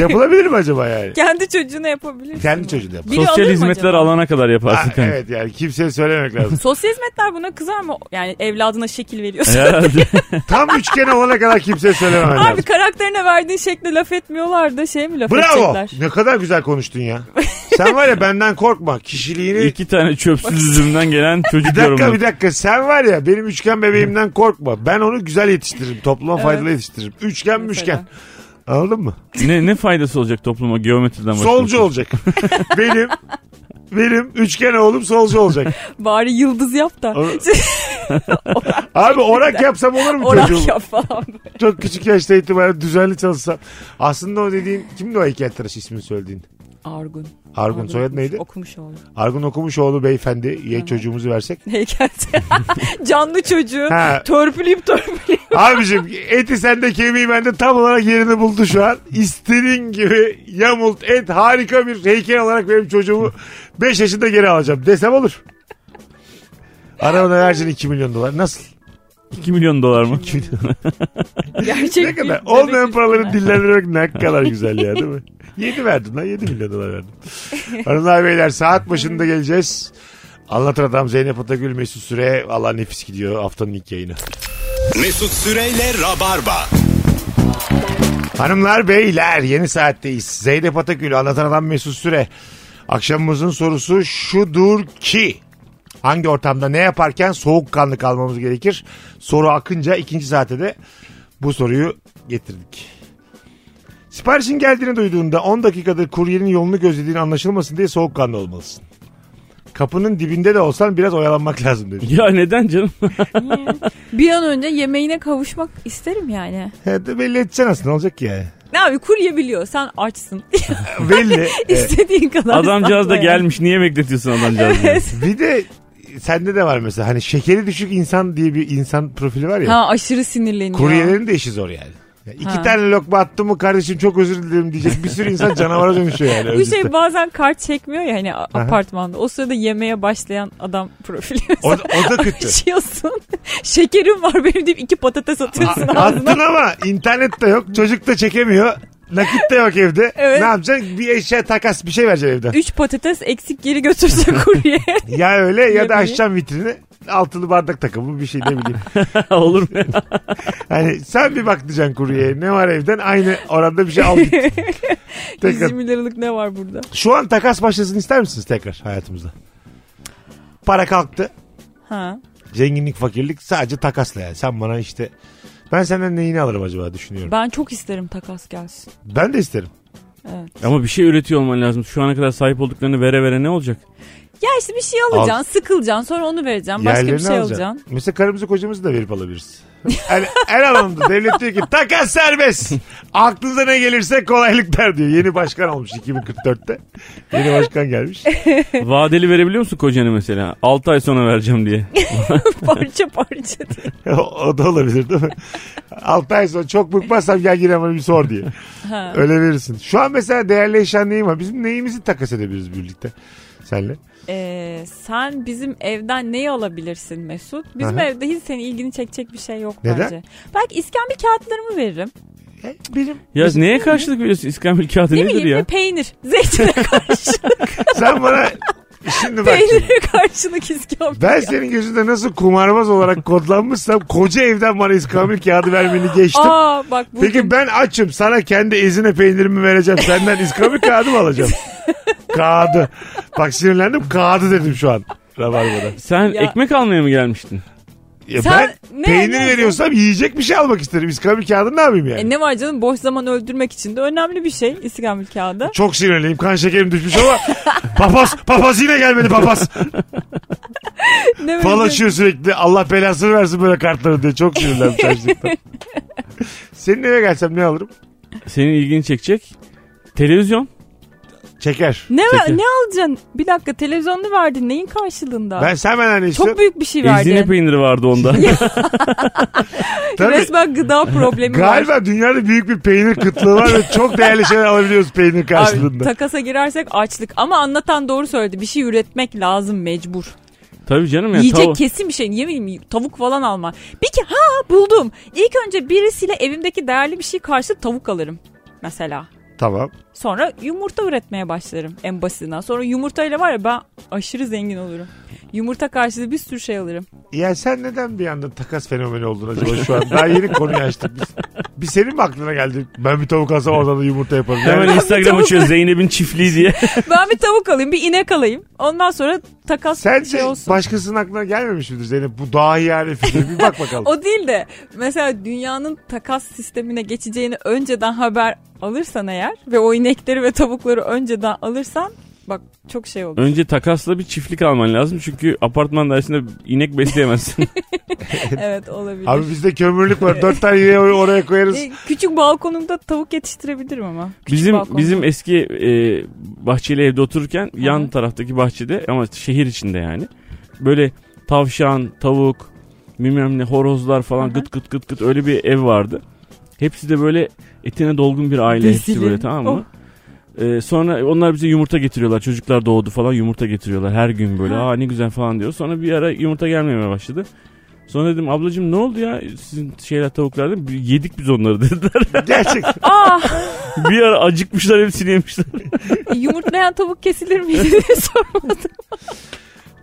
[SPEAKER 3] Yapılabilir mi acaba yani?
[SPEAKER 4] kendi çocuğuna yapabilirsin.
[SPEAKER 3] Kendi çocuğunu yapar.
[SPEAKER 4] Biri alır
[SPEAKER 5] Sosyal
[SPEAKER 4] mı
[SPEAKER 5] hizmetler
[SPEAKER 4] acaba?
[SPEAKER 5] alana kadar yaparsın.
[SPEAKER 3] Ha,
[SPEAKER 5] kanka.
[SPEAKER 3] Ah, evet yani kimseye söylemek lazım.
[SPEAKER 4] Sosyal hizmetler buna kızar mı? Yani evladına şekil
[SPEAKER 3] (laughs)
[SPEAKER 4] veriyorsun.
[SPEAKER 5] Herhalde.
[SPEAKER 3] Tam üçgen olana kadar kimseye söylememek lazım.
[SPEAKER 4] Abi karakterine verdiğin şekle laf etmiyorlar da şey mi laf
[SPEAKER 3] Bravo.
[SPEAKER 4] edecekler?
[SPEAKER 3] Ne kadar güzel konuştun ya. Sen var ya benden korkma. Kişiliğini...
[SPEAKER 5] İki tane çöpsüz üzümden gelen çocuk
[SPEAKER 3] Bir dakika
[SPEAKER 5] yorumları.
[SPEAKER 3] bir dakika sen var ya benim üçgen bebeğimden korkma. Ben onu güzel yetiştiririm. Topluma faydalı yetiştiririm. Üçgen müşken. Anladın mı?
[SPEAKER 5] Ne, ne faydası olacak topluma geometriden başka?
[SPEAKER 3] Solcu olacak. (laughs) benim benim üçgen oğlum solcu olacak.
[SPEAKER 4] Bari yıldız yap da.
[SPEAKER 3] Ama- Abi orak yapsam olur mu çocuğum?
[SPEAKER 4] (laughs) Orak yap falan.
[SPEAKER 3] Çok küçük yaşta itibaren düzenli çalışsam. Aslında o dediğin kimdi o heykeltıraş ismini söylediğin?
[SPEAKER 4] Argun.
[SPEAKER 3] Argun soyadı neydi?
[SPEAKER 4] Okumuş oldu.
[SPEAKER 3] Argun Okumuşoğlu beyefendi. Ye çocuğumuzu versek.
[SPEAKER 4] Heykel. (laughs) Canlı çocuğu.
[SPEAKER 3] Ha.
[SPEAKER 4] Törpüleyip törpüleyip.
[SPEAKER 3] Abicim eti sende kemiği bende tam olarak yerini buldu şu an. İstediğin gibi yamult et harika bir heykel olarak benim çocuğumu 5 yaşında geri alacağım desem olur. Arabada versin 2 milyon dolar. Nasıl?
[SPEAKER 5] 2 milyon dolar mı?
[SPEAKER 4] Gerçek
[SPEAKER 3] Ne kadar?
[SPEAKER 4] bir-
[SPEAKER 3] Olmayan
[SPEAKER 4] bebek
[SPEAKER 3] paraları
[SPEAKER 4] üstüne.
[SPEAKER 3] dillendirmek ne kadar güzel ya değil mi? 7 verdim lan 7 milyon dolar verdim. Hanımlar beyler saat başında geleceğiz. Anlatır adam Zeynep Atagül Mesut Süre. Allah nefis gidiyor haftanın ilk yayını.
[SPEAKER 2] Mesut Süreyle Rabarba.
[SPEAKER 3] Hanımlar beyler yeni saatteyiz. Zeynep Atakül anlatan adam Mesut Süre. Akşamımızın sorusu şudur ki hangi ortamda ne yaparken soğukkanlı kalmamız gerekir? Soru akınca ikinci saate de bu soruyu getirdik. Siparişin geldiğini duyduğunda 10 dakikadır kuryenin yolunu gözlediğini anlaşılmasın diye soğukkanlı olmalısın. Kapının dibinde de olsan biraz oyalanmak lazım dedi.
[SPEAKER 5] ya
[SPEAKER 4] (laughs)
[SPEAKER 5] neden canım?
[SPEAKER 4] Bir an önce yemeğine kavuşmak isterim yani.
[SPEAKER 3] He, de (laughs) belli edeceksin aslında ne olacak ki yani.
[SPEAKER 4] Ne abi kurye biliyor sen açsın. (laughs)
[SPEAKER 3] (laughs) Belli. Evet.
[SPEAKER 4] İstediğin kadar.
[SPEAKER 5] Adamcağız
[SPEAKER 4] sakla
[SPEAKER 5] da
[SPEAKER 4] yani.
[SPEAKER 5] gelmiş. Niye bekletiyorsun adamcağızı?
[SPEAKER 4] Evet.
[SPEAKER 3] Bir de sende de var mesela hani şekeri düşük insan diye bir insan profili var ya.
[SPEAKER 4] Ha aşırı sinirleniyor.
[SPEAKER 3] Kuryelerin de işi zor yani. Ya iki
[SPEAKER 4] Ha.
[SPEAKER 3] tane lokma attım mı kardeşim çok özür dilerim diyecek bir sürü insan canavara dönüşüyor yani.
[SPEAKER 4] Bu
[SPEAKER 3] özür
[SPEAKER 4] şey (laughs)
[SPEAKER 3] dilerim.
[SPEAKER 4] bazen kart çekmiyor ya hani a- apartmanda. O sırada yemeğe başlayan adam profili. (laughs)
[SPEAKER 3] o, da- o da kötü. (laughs)
[SPEAKER 4] Şey Açıyorsun. (laughs) Şekerim var benim deyip iki patates atıyorsun
[SPEAKER 3] A-
[SPEAKER 4] ağzına.
[SPEAKER 3] Attın ama internet de yok çocuk da çekemiyor. Nakit de yok evde.
[SPEAKER 4] Evet.
[SPEAKER 3] Ne yapacaksın? Bir eşya takas bir şey vereceksin evden.
[SPEAKER 4] Üç patates eksik
[SPEAKER 3] (laughs)
[SPEAKER 4] geri götürecek kurye.
[SPEAKER 3] Ya öyle ya da
[SPEAKER 4] Yemeği.
[SPEAKER 3] açacaksın vitrini. Altılı bardak takımı bir şey ne bileyim.
[SPEAKER 5] Olur mu? ya?
[SPEAKER 3] Hani sen bir bak diyeceksin kuryeye ne var evden aynı oranda bir şey
[SPEAKER 4] (laughs)
[SPEAKER 3] al git.
[SPEAKER 4] 120 liralık ne var burada?
[SPEAKER 3] Şu an takas başlasın ister misiniz tekrar hayatımızda? Para kalktı.
[SPEAKER 4] Ha.
[SPEAKER 3] Zenginlik, fakirlik sadece takasla yani. Sen bana işte ben senden neyini alırım acaba düşünüyorum.
[SPEAKER 4] Ben çok isterim takas gelsin.
[SPEAKER 3] Ben de isterim.
[SPEAKER 5] Ama bir şey üretiyor olman lazım. Şu ana kadar sahip olduklarını vere vere ne
[SPEAKER 4] (laughs)
[SPEAKER 5] olacak?
[SPEAKER 4] Ya işte bir şey alacaksın, sıkılacaksın, sonra onu vereceksin, başka bir
[SPEAKER 3] Yerlerini
[SPEAKER 4] şey
[SPEAKER 3] alacaksın. (laughs)
[SPEAKER 4] alacaksın.
[SPEAKER 3] Mesela karımızı kocamızı da verip alabiliriz. Yani her anlamda devlet diyor ki takas serbest. Aklınıza ne gelirse kolaylıklar diyor. Yeni başkan olmuş 2044'te. Yeni başkan gelmiş.
[SPEAKER 5] Vadeli verebiliyor musun kocanı mesela? 6 ay sonra vereceğim diye.
[SPEAKER 4] parça parça diye.
[SPEAKER 3] o, o da olabilir değil mi? 6 ay sonra çok bıkmazsam gel yine bana bir sor diye.
[SPEAKER 4] Ha.
[SPEAKER 3] Öyle verirsin. Şu an mesela değerli eşyan neyim var? Bizim neyimizi takas edebiliriz birlikte? Senle.
[SPEAKER 4] Ee, sen bizim evden neyi alabilirsin Mesut? Bizim
[SPEAKER 3] Aha.
[SPEAKER 4] evde hiç senin ilgini çekecek bir şey yok
[SPEAKER 3] Neden?
[SPEAKER 4] bence. Belki iskambil kağıtlarımı veririm.
[SPEAKER 3] E, Benim
[SPEAKER 4] (laughs)
[SPEAKER 5] Ya neye karşılık veriyorsun İskambil kağıdı
[SPEAKER 4] Ne
[SPEAKER 5] nedir
[SPEAKER 4] bileyim bir
[SPEAKER 5] ya?
[SPEAKER 4] peynir. (laughs)
[SPEAKER 3] (laughs)
[SPEAKER 4] Zeytine karşılık.
[SPEAKER 3] sen bana şimdi bak. şimdi.
[SPEAKER 4] peynire karşılık iskambil.
[SPEAKER 3] Ben senin gözünde nasıl kumarbaz olarak kodlanmışsam koca evden bana iskambil kağıdı vermeni geçtim.
[SPEAKER 4] Aa bak bu.
[SPEAKER 3] Peki ben açım sana kendi ezine peynirimi vereceğim senden iskambil kağıdı mı
[SPEAKER 4] (laughs)
[SPEAKER 3] alacağım? kağıdı. Bak sinirlendim kağıdı dedim şu an. Rabarbada.
[SPEAKER 5] Sen
[SPEAKER 4] Ya.
[SPEAKER 5] ekmek almaya mı gelmiştin?
[SPEAKER 3] Ya
[SPEAKER 4] Sen
[SPEAKER 3] ben
[SPEAKER 4] ne-
[SPEAKER 3] peynir
[SPEAKER 4] ne-
[SPEAKER 3] veriyorsam yiyecek bir şey almak isterim. İskambil kağıdını ne yapayım yani?
[SPEAKER 4] E ne var canım boş zaman öldürmek için de önemli bir şey iskambil kağıdı.
[SPEAKER 3] Çok sinirliyim. Kan şekerim düşmüş
[SPEAKER 4] (laughs)
[SPEAKER 3] ama papaz, papaz yine gelmedi papaz.
[SPEAKER 4] Ne
[SPEAKER 3] Falaşıyor sürekli. Allah belasını versin böyle kartları diye. Çok sinirlendim
[SPEAKER 4] (laughs)
[SPEAKER 3] şaşlıktan. Senin eve gelsem ne alırım?
[SPEAKER 5] Senin ilgini çekecek. Televizyon.
[SPEAKER 3] Çeker.
[SPEAKER 4] Ne,
[SPEAKER 5] Peki.
[SPEAKER 4] ne alacaksın? Bir dakika televizyonunu verdin neyin karşılığında?
[SPEAKER 3] Ben sen benden ne
[SPEAKER 4] Çok
[SPEAKER 3] istiyorsun?
[SPEAKER 4] büyük bir şey
[SPEAKER 5] Ezine
[SPEAKER 4] verdin.
[SPEAKER 5] peyniri
[SPEAKER 4] (laughs)
[SPEAKER 5] vardı onda.
[SPEAKER 3] Tabii. (laughs)
[SPEAKER 4] Resmen gıda problemi var.
[SPEAKER 3] Galiba dünyada büyük bir peynir kıtlığı var ve çok değerli şeyler alabiliyoruz peynir
[SPEAKER 4] Abi,
[SPEAKER 3] karşılığında.
[SPEAKER 4] takasa girersek açlık ama anlatan doğru söyledi. Bir şey üretmek lazım mecbur.
[SPEAKER 5] Tabii canım ya.
[SPEAKER 4] Yiyecek
[SPEAKER 5] tav-
[SPEAKER 4] kesin bir şey. Yemin tavuk falan alma. Bir ki ha buldum. İlk önce birisiyle evimdeki değerli bir şey karşı tavuk alırım. Mesela.
[SPEAKER 3] tamam.
[SPEAKER 4] Sonra yumurta üretmeye başlarım en basitinden. Sonra yumurtayla var ya ben aşırı zengin olurum. Yumurta karşılığı bir sürü şey alırım.
[SPEAKER 3] Ya sen neden bir anda takas fenomeni oldun acaba şu an? Daha yeni konuyu açtık biz. Bir senin mi aklına geldi? Ben bir tavuk alsam oradan da yumurta yaparım. Yani
[SPEAKER 5] Hemen Instagram açıyor Zeynep'in
[SPEAKER 4] (laughs)
[SPEAKER 5] çiftliği diye.
[SPEAKER 4] ben bir tavuk alayım bir inek alayım. Ondan sonra takas
[SPEAKER 3] Sence
[SPEAKER 4] şey olsun.
[SPEAKER 3] başkasının aklına gelmemiş midir Zeynep? Bu daha yani fikri. Bir bak bakalım.
[SPEAKER 4] O değil de mesela dünyanın takas sistemine geçeceğini önceden haber alırsan eğer ve o inekleri ve tavukları önceden alırsan bak çok şey olur.
[SPEAKER 5] Önce takasla bir çiftlik alman lazım. Çünkü apartman dairesinde inek besleyemezsin.
[SPEAKER 4] evet olabilir.
[SPEAKER 3] Abi bizde kömürlük var. Dört tane yine oraya koyarız.
[SPEAKER 4] E, küçük balkonumda tavuk yetiştirebilirim ama. Küçük
[SPEAKER 5] bizim
[SPEAKER 4] balkonda.
[SPEAKER 5] bizim eski e, bahçeli evde otururken yan taraftaki bahçede ama şehir içinde yani. Böyle tavşan, tavuk, bilmem ne horozlar falan gıt gıt gıt gıt öyle bir ev vardı. Hepsi de böyle etine dolgun bir aile hepsi
[SPEAKER 4] Rezilin.
[SPEAKER 5] böyle tamam mı?
[SPEAKER 4] Oh.
[SPEAKER 5] E, sonra onlar bize yumurta getiriyorlar. Çocuklar doğdu falan yumurta getiriyorlar her gün böyle.
[SPEAKER 4] Ha.
[SPEAKER 5] Aa ne güzel falan diyor. Sonra bir ara yumurta gelmemeye başladı. Sonra dedim ablacığım ne oldu ya sizin şeyler tavuklar dedim. "Bir- Yedik biz onları dediler. (laughs)
[SPEAKER 3] Gerçek.
[SPEAKER 4] Aa,
[SPEAKER 5] bir ara acıkmışlar hepsini yemişler.
[SPEAKER 4] E, yumurtlayan tavuk kesilir miydi diye (laughs) sormadım.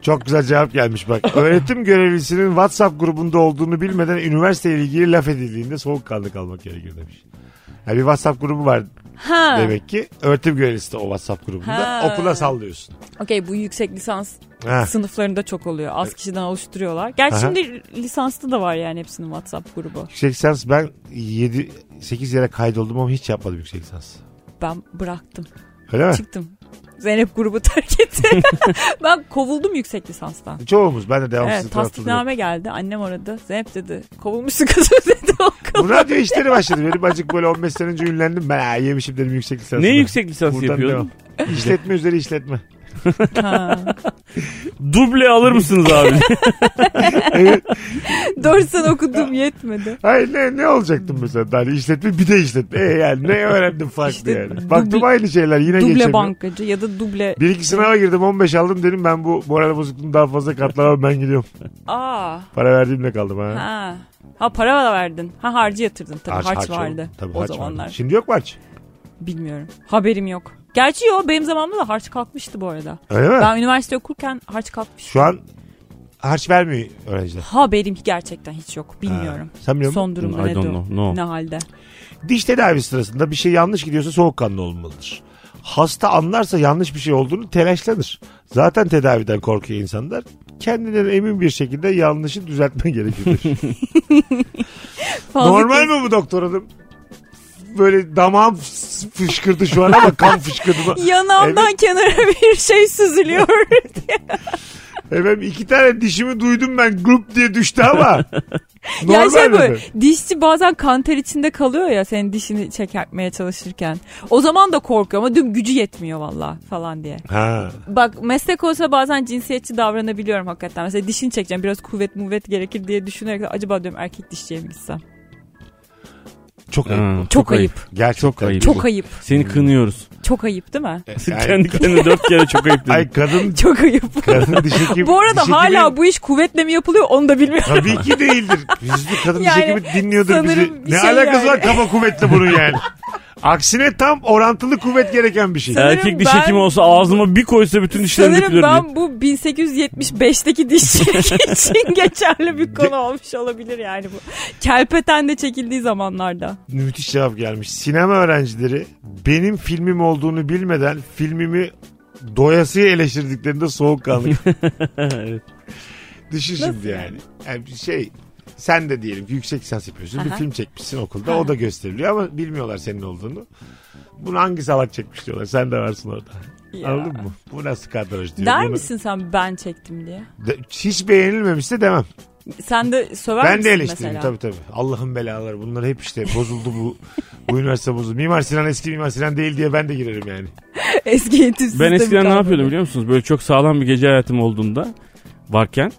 [SPEAKER 3] Çok güzel cevap gelmiş bak. Öğretim görevlisinin WhatsApp grubunda olduğunu bilmeden üniversiteyle ilgili laf edildiğinde soğukkanlı kalmak gerekir demiş. Yani bir WhatsApp grubu var
[SPEAKER 4] Ha.
[SPEAKER 3] demek ki. Öğretim görevlisi de o WhatsApp grubunda.
[SPEAKER 4] Ha.
[SPEAKER 3] Okula sallıyorsun.
[SPEAKER 4] Okey bu yüksek lisans
[SPEAKER 3] Ha.
[SPEAKER 4] sınıflarında çok oluyor. Az kişiden oluşturuyorlar. Gerçi
[SPEAKER 3] Aha.
[SPEAKER 4] şimdi lisanslı da var yani hepsinin WhatsApp grubu.
[SPEAKER 3] Yüksek lisans ben 7 8 yere kaydoldum ama hiç yapmadım yüksek lisans.
[SPEAKER 4] Ben bıraktım.
[SPEAKER 3] Öyle mi?
[SPEAKER 4] Çıktım. Zeynep grubu terk etti.
[SPEAKER 3] (laughs)
[SPEAKER 4] ben kovuldum yüksek lisanstan.
[SPEAKER 3] Çoğumuz ben de
[SPEAKER 4] Evet
[SPEAKER 3] devamsızlık taraftarıyım.
[SPEAKER 4] tasdikname geldi. Annem aradı. Zeynep dedi. Kovulmuşsun kızım (laughs) dedi. O kadar.
[SPEAKER 3] Bu radyo işleri başladı. Benim acık böyle 15 sene önce ünlendim. Ben ha, yemişim dedim yüksek lisans.
[SPEAKER 5] ne yüksek lisans
[SPEAKER 3] Buradan
[SPEAKER 5] yapıyordun?
[SPEAKER 3] devam. İşletme üzeri işletme.
[SPEAKER 4] Ha.
[SPEAKER 5] Duble
[SPEAKER 3] (laughs)
[SPEAKER 5] alır mısınız abi?
[SPEAKER 3] Evet.
[SPEAKER 4] Dört sene
[SPEAKER 3] (laughs)
[SPEAKER 4] okudum yetmedi.
[SPEAKER 3] Hayır ne, ne olacaktım mesela? Hani işletme bir de işletme. E yani ne öğrendim farklı
[SPEAKER 4] İşte
[SPEAKER 3] yani.
[SPEAKER 4] duble-
[SPEAKER 3] Baktım aynı şeyler yine
[SPEAKER 4] Duble
[SPEAKER 3] geçemiyor.
[SPEAKER 4] bankacı ya da duble.
[SPEAKER 3] Bir iki sınava girdim 15 aldım dedim ben bu moral bozukluğunu daha fazla katlanamam ben gidiyorum.
[SPEAKER 4] Aa.
[SPEAKER 3] Para verdiğimle kaldım ha.
[SPEAKER 4] Ha. Ha para da verdin. Ha harcı yatırdın tabii.
[SPEAKER 3] Harç-
[SPEAKER 4] Harç,
[SPEAKER 3] harç
[SPEAKER 4] vardı
[SPEAKER 3] oldu. Tabii
[SPEAKER 4] o
[SPEAKER 3] harç
[SPEAKER 4] zamanlar.
[SPEAKER 3] vardı. Şey- Şimdi yok mu harç?
[SPEAKER 4] Bilmiyorum. Haberim yok. Gerçi yok benim zamanımda da harç kalkmıştı bu arada.
[SPEAKER 3] Öyle mi?
[SPEAKER 4] Ben üniversite okurken harç kalkmış.
[SPEAKER 3] Şu an harç vermiyor öğrenciler.
[SPEAKER 4] Haberim gerçekten hiç yok. Bilmiyorum.
[SPEAKER 3] Ha, sen biliyor musun?
[SPEAKER 4] Son durumu
[SPEAKER 5] I
[SPEAKER 4] ne,
[SPEAKER 5] don't
[SPEAKER 4] durum-
[SPEAKER 5] know, no.
[SPEAKER 4] ne halde?
[SPEAKER 3] Diş tedavisi sırasında bir şey yanlış gidiyorsa soğukkanlı olmalıdır. Hasta anlarsa yanlış bir şey olduğunu telaşlanır. Zaten tedaviden korkuyor insanlar. Kendilerine emin bir şekilde yanlışı düzeltme gerekir.
[SPEAKER 4] (laughs) Fazla
[SPEAKER 3] Normal
[SPEAKER 4] kez-
[SPEAKER 3] mi bu doktor hanım? Böyle damağım fıs- fışkırdı şu an ama kan
[SPEAKER 4] (laughs)
[SPEAKER 3] fışkırdı.
[SPEAKER 4] Yanağımdan kenara (laughs) bir şey süzülüyor.
[SPEAKER 3] (laughs) Efendim iki tane dişimi duydum ben grup diye düştü
[SPEAKER 4] (laughs)
[SPEAKER 3] ama. Normal
[SPEAKER 4] ya şey
[SPEAKER 3] mi?
[SPEAKER 4] böyle dişçi bazen kanter içinde kalıyor ya senin dişini çekertmeye çalışırken. O zaman da korkuyor ama düm gücü yetmiyor valla falan diye.
[SPEAKER 3] Ha.
[SPEAKER 4] Bak meslek olsa bazen cinsiyetçi davranabiliyorum hakikaten. Mesela dişini çekeceğim biraz kuvvet muvvet gerekir diye düşünerek de acaba diyorum erkek dişçiye mi gitsem? Çok,
[SPEAKER 3] Çok ayıp.
[SPEAKER 5] Ha,
[SPEAKER 4] ayıp.
[SPEAKER 3] Gerçekten.
[SPEAKER 5] Çok E, ayıp.
[SPEAKER 4] Çok ayıp.
[SPEAKER 5] Seni kınıyoruz.
[SPEAKER 4] Çok Çok ayıp değil mi?
[SPEAKER 3] Yani-
[SPEAKER 5] Kendi kendine dört kere
[SPEAKER 3] (laughs)
[SPEAKER 5] çok ayıp dedim.
[SPEAKER 3] Ay kadın
[SPEAKER 4] Çok ayıp.
[SPEAKER 3] kadın diş
[SPEAKER 4] (laughs)
[SPEAKER 3] hekimi.
[SPEAKER 4] Bu arada
[SPEAKER 3] diş hekimi-
[SPEAKER 4] hala bu iş kuvvetle mi yapılıyor onu da bilmiyorum.
[SPEAKER 3] Tabii ki değildir. Yüzlü kadın
[SPEAKER 4] Yani
[SPEAKER 3] diş hekimi dinliyordur bizi.
[SPEAKER 4] sanırım bir
[SPEAKER 3] Ne
[SPEAKER 4] şey
[SPEAKER 3] alakası var
[SPEAKER 4] yani.
[SPEAKER 3] kaba kuvvetle bunun yani. Aksine tam orantılı kuvvet gereken bir şey.
[SPEAKER 4] Sen-
[SPEAKER 5] Erkek
[SPEAKER 4] sanırım
[SPEAKER 5] diş
[SPEAKER 4] ben-
[SPEAKER 5] hekimi olsa ağzıma bir koysa bütün dişlerim
[SPEAKER 4] Sanırım
[SPEAKER 5] dökülür diye.
[SPEAKER 4] ben bu 1875'teki dişçilik
[SPEAKER 3] (laughs)
[SPEAKER 4] için geçerli bir konu olmuş olabilir yani bu. Kelpeten de çekildiği zamanlarda.
[SPEAKER 3] Müthiş cevap gelmiş. Sinema öğrencileri benim filmim olduğunu bilmeden filmimi doyasıya eleştirdiklerinde soğukkanlı.
[SPEAKER 5] Evet.
[SPEAKER 3] Düşün şimdi yani. yani. bir Şey sen de diyelim ki yüksek lisans yapıyorsun. Bir
[SPEAKER 4] Aha.
[SPEAKER 3] film çekmişsin okulda. O da gösteriliyor ama bilmiyorlar senin olduğunu. Bunu hangi salak çekmiş diyorlar. Sen de varsın orada.
[SPEAKER 4] Ya.
[SPEAKER 3] Anladın mı? Bu nasıl kadraj diyor.
[SPEAKER 4] Der
[SPEAKER 3] Bunu-
[SPEAKER 4] misin sen ben çektim diye?
[SPEAKER 3] De- hiç beğenilmemişse demem.
[SPEAKER 4] Sen de söver
[SPEAKER 3] ben de
[SPEAKER 4] misin
[SPEAKER 3] eleştiririm
[SPEAKER 4] mesela?
[SPEAKER 3] tabii tabii. Allah'ın belaları bunlar hep işte bozuldu bu. bu üniversite bozuldu. Mimar Sinan eski Mimar Sinan değil diye ben de girerim yani.
[SPEAKER 4] (laughs) Eski eğitimsiz
[SPEAKER 5] Ben
[SPEAKER 4] de bir
[SPEAKER 5] eskiden ne
[SPEAKER 4] kadro.
[SPEAKER 5] yapıyordum biliyor musunuz? Böyle çok sağlam bir gece hayatım olduğunda varken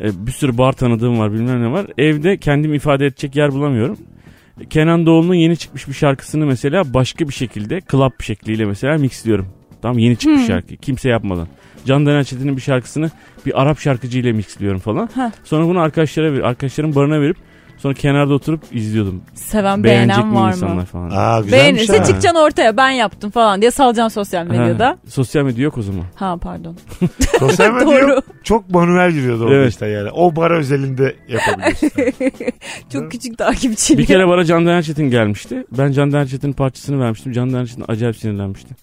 [SPEAKER 5] e, bir sürü bar tanıdığım var bilmem ne var. Evde kendim ifade edecek yer bulamıyorum. Kenan Doğulu'nun yeni çıkmış bir şarkısını mesela başka bir şekilde club şekliyle mesela mixliyorum. Tamam yeni çıkmış
[SPEAKER 4] Hmm.
[SPEAKER 5] şarkı kimse yapmadan. Can Denen Çetin'in bir şarkısını bir Arap şarkıcıyla mixliyorum falan.
[SPEAKER 4] Heh.
[SPEAKER 5] Sonra bunu arkadaşlara ver, arkadaşların barına verip sonra kenarda oturup izliyordum.
[SPEAKER 4] Seven
[SPEAKER 5] Beğenecek
[SPEAKER 4] beğenen
[SPEAKER 5] mi
[SPEAKER 4] var
[SPEAKER 5] insanlar
[SPEAKER 4] mı?
[SPEAKER 5] falan.
[SPEAKER 3] Aa güzelmiş
[SPEAKER 4] Beğenirse
[SPEAKER 3] ha.
[SPEAKER 4] çıkacaksın ortaya ben yaptım falan diye salacaksın sosyal
[SPEAKER 5] Ha,
[SPEAKER 4] medyada.
[SPEAKER 5] Sosyal medya yok o zaman.
[SPEAKER 4] Ha pardon.
[SPEAKER 3] (laughs) Sosyal medya
[SPEAKER 4] Doğru.
[SPEAKER 3] yok. Çok manuel giriyordu orada
[SPEAKER 5] Evet.
[SPEAKER 3] işte yani. O bara özelinde yapabiliyorsun.
[SPEAKER 4] (laughs)
[SPEAKER 5] (laughs)
[SPEAKER 4] Çok küçük (laughs) takipçiliği.
[SPEAKER 5] Bir kere bana Can Deren Çetin gelmişti. Ben Can Deren Çetin'in parçasını vermiştim. Can Deren Çetin acayip sinirlenmişti.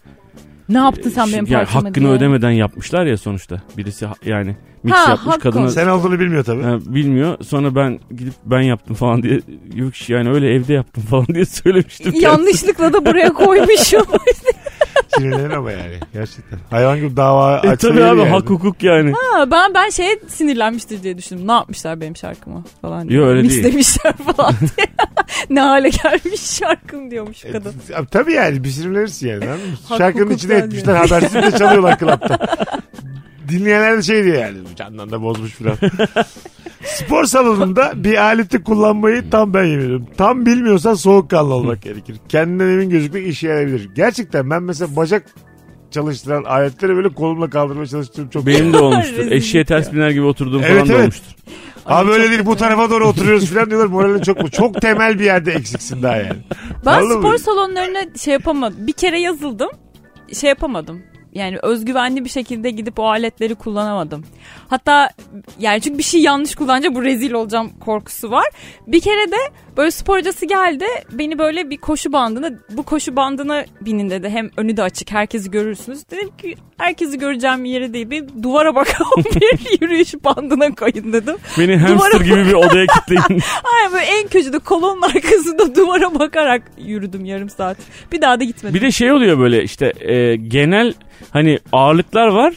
[SPEAKER 4] Ne yaptın sen
[SPEAKER 5] Şimdi
[SPEAKER 4] benim
[SPEAKER 5] yani
[SPEAKER 4] parçamı
[SPEAKER 5] Hakkını
[SPEAKER 4] diye? (laughs)
[SPEAKER 5] ödemeden yapmışlar ya sonuçta. Birisi ha- yani mix
[SPEAKER 4] Ha,
[SPEAKER 5] yapmış
[SPEAKER 4] hak
[SPEAKER 5] kadına
[SPEAKER 3] Sen olduğunu bilmiyor tabii.
[SPEAKER 5] ha, bilmiyor. Sonra ben gidip ben yaptım falan diye. Yok yani öyle evde yaptım (laughs) falan diye söylemiştim.
[SPEAKER 4] Yanlışlıkla da buraya
[SPEAKER 5] (laughs)
[SPEAKER 4] koymuşum.
[SPEAKER 3] Sinirlenir ama yani gerçekten. Hayvan gibi dava
[SPEAKER 5] E
[SPEAKER 3] açılıyor
[SPEAKER 5] tabi abi
[SPEAKER 3] yani.
[SPEAKER 5] hak hukuk yani.
[SPEAKER 4] Ha, ben ben şeye sinirlenmiştir diye düşündüm. Ne yapmışlar benim şarkımı falan diye.
[SPEAKER 5] Yo, öyle
[SPEAKER 4] Mix
[SPEAKER 5] değil.
[SPEAKER 4] demişler falan diye. (laughs) ne hale gelmiş şarkım diyormuş
[SPEAKER 3] E,
[SPEAKER 4] kadın.
[SPEAKER 3] t- Tabii yani bir sinirlenirsin yani. anladın mı?
[SPEAKER 4] Hak
[SPEAKER 3] Şarkının
[SPEAKER 4] hukuk
[SPEAKER 3] içine
[SPEAKER 4] yani.
[SPEAKER 3] etmişler habersiz de çalıyorlar
[SPEAKER 4] (laughs)
[SPEAKER 3] klapta. Dinleyenler de şey diyor yani bu candan da bozmuş filan. Spor salonunda bir aleti kullanmayı tam ben yemiyorum. Tam bilmiyorsan soğukkanlı olmak gerekir. Kendinden emin gözükmek işe yarayabilir. Gerçekten ben mesela bacak çalıştıran aletleri böyle kolumla kaldırmaya çalıştığım çok
[SPEAKER 4] (laughs)
[SPEAKER 5] Benim de olmuştur.
[SPEAKER 4] Rezillik
[SPEAKER 5] Eşeğe ters
[SPEAKER 4] ya.
[SPEAKER 5] biner gibi oturduğum
[SPEAKER 3] Evet,
[SPEAKER 5] falan da
[SPEAKER 3] evet.
[SPEAKER 5] olmuştur.
[SPEAKER 4] Ay,
[SPEAKER 3] Abi
[SPEAKER 4] çok
[SPEAKER 3] öyle değil bu tarafa doğru oturuyoruz falan diyorlar. Moralin çok mu? Çok temel bir yerde eksiksin daha yani.
[SPEAKER 4] Ben
[SPEAKER 3] Vallahi
[SPEAKER 4] spor
[SPEAKER 3] mi?
[SPEAKER 4] salonlarına şey yapamadım. Bir kere yazıldım. Şey yapamadım. Yani özgüvenli bir şekilde gidip o aletleri kullanamadım. Hatta yani çünkü bir şey yanlış kullanınca bu rezil olacağım korkusu var. Bir kere de böyle spor hocası geldi. Beni böyle bir koşu bandına bu koşu bandına binin dedi. Hem önü de açık herkesi görürsünüz. Dedim ki herkesi göreceğim bir yere değil. Bir duvara bakan (laughs) bir yürüyüş bandına koyun dedim.
[SPEAKER 5] Beni
[SPEAKER 4] Duvara
[SPEAKER 5] hamster gibi
[SPEAKER 4] (laughs)
[SPEAKER 5] bir odaya kilitleyin.
[SPEAKER 4] Ay böyle en köşede kolonun arkasında (laughs) duvara bakarak yürüdüm yarım saat. Bir daha da gitmedim.
[SPEAKER 5] Bir de şey oluyor böyle işte e, genel hani ağırlıklar var.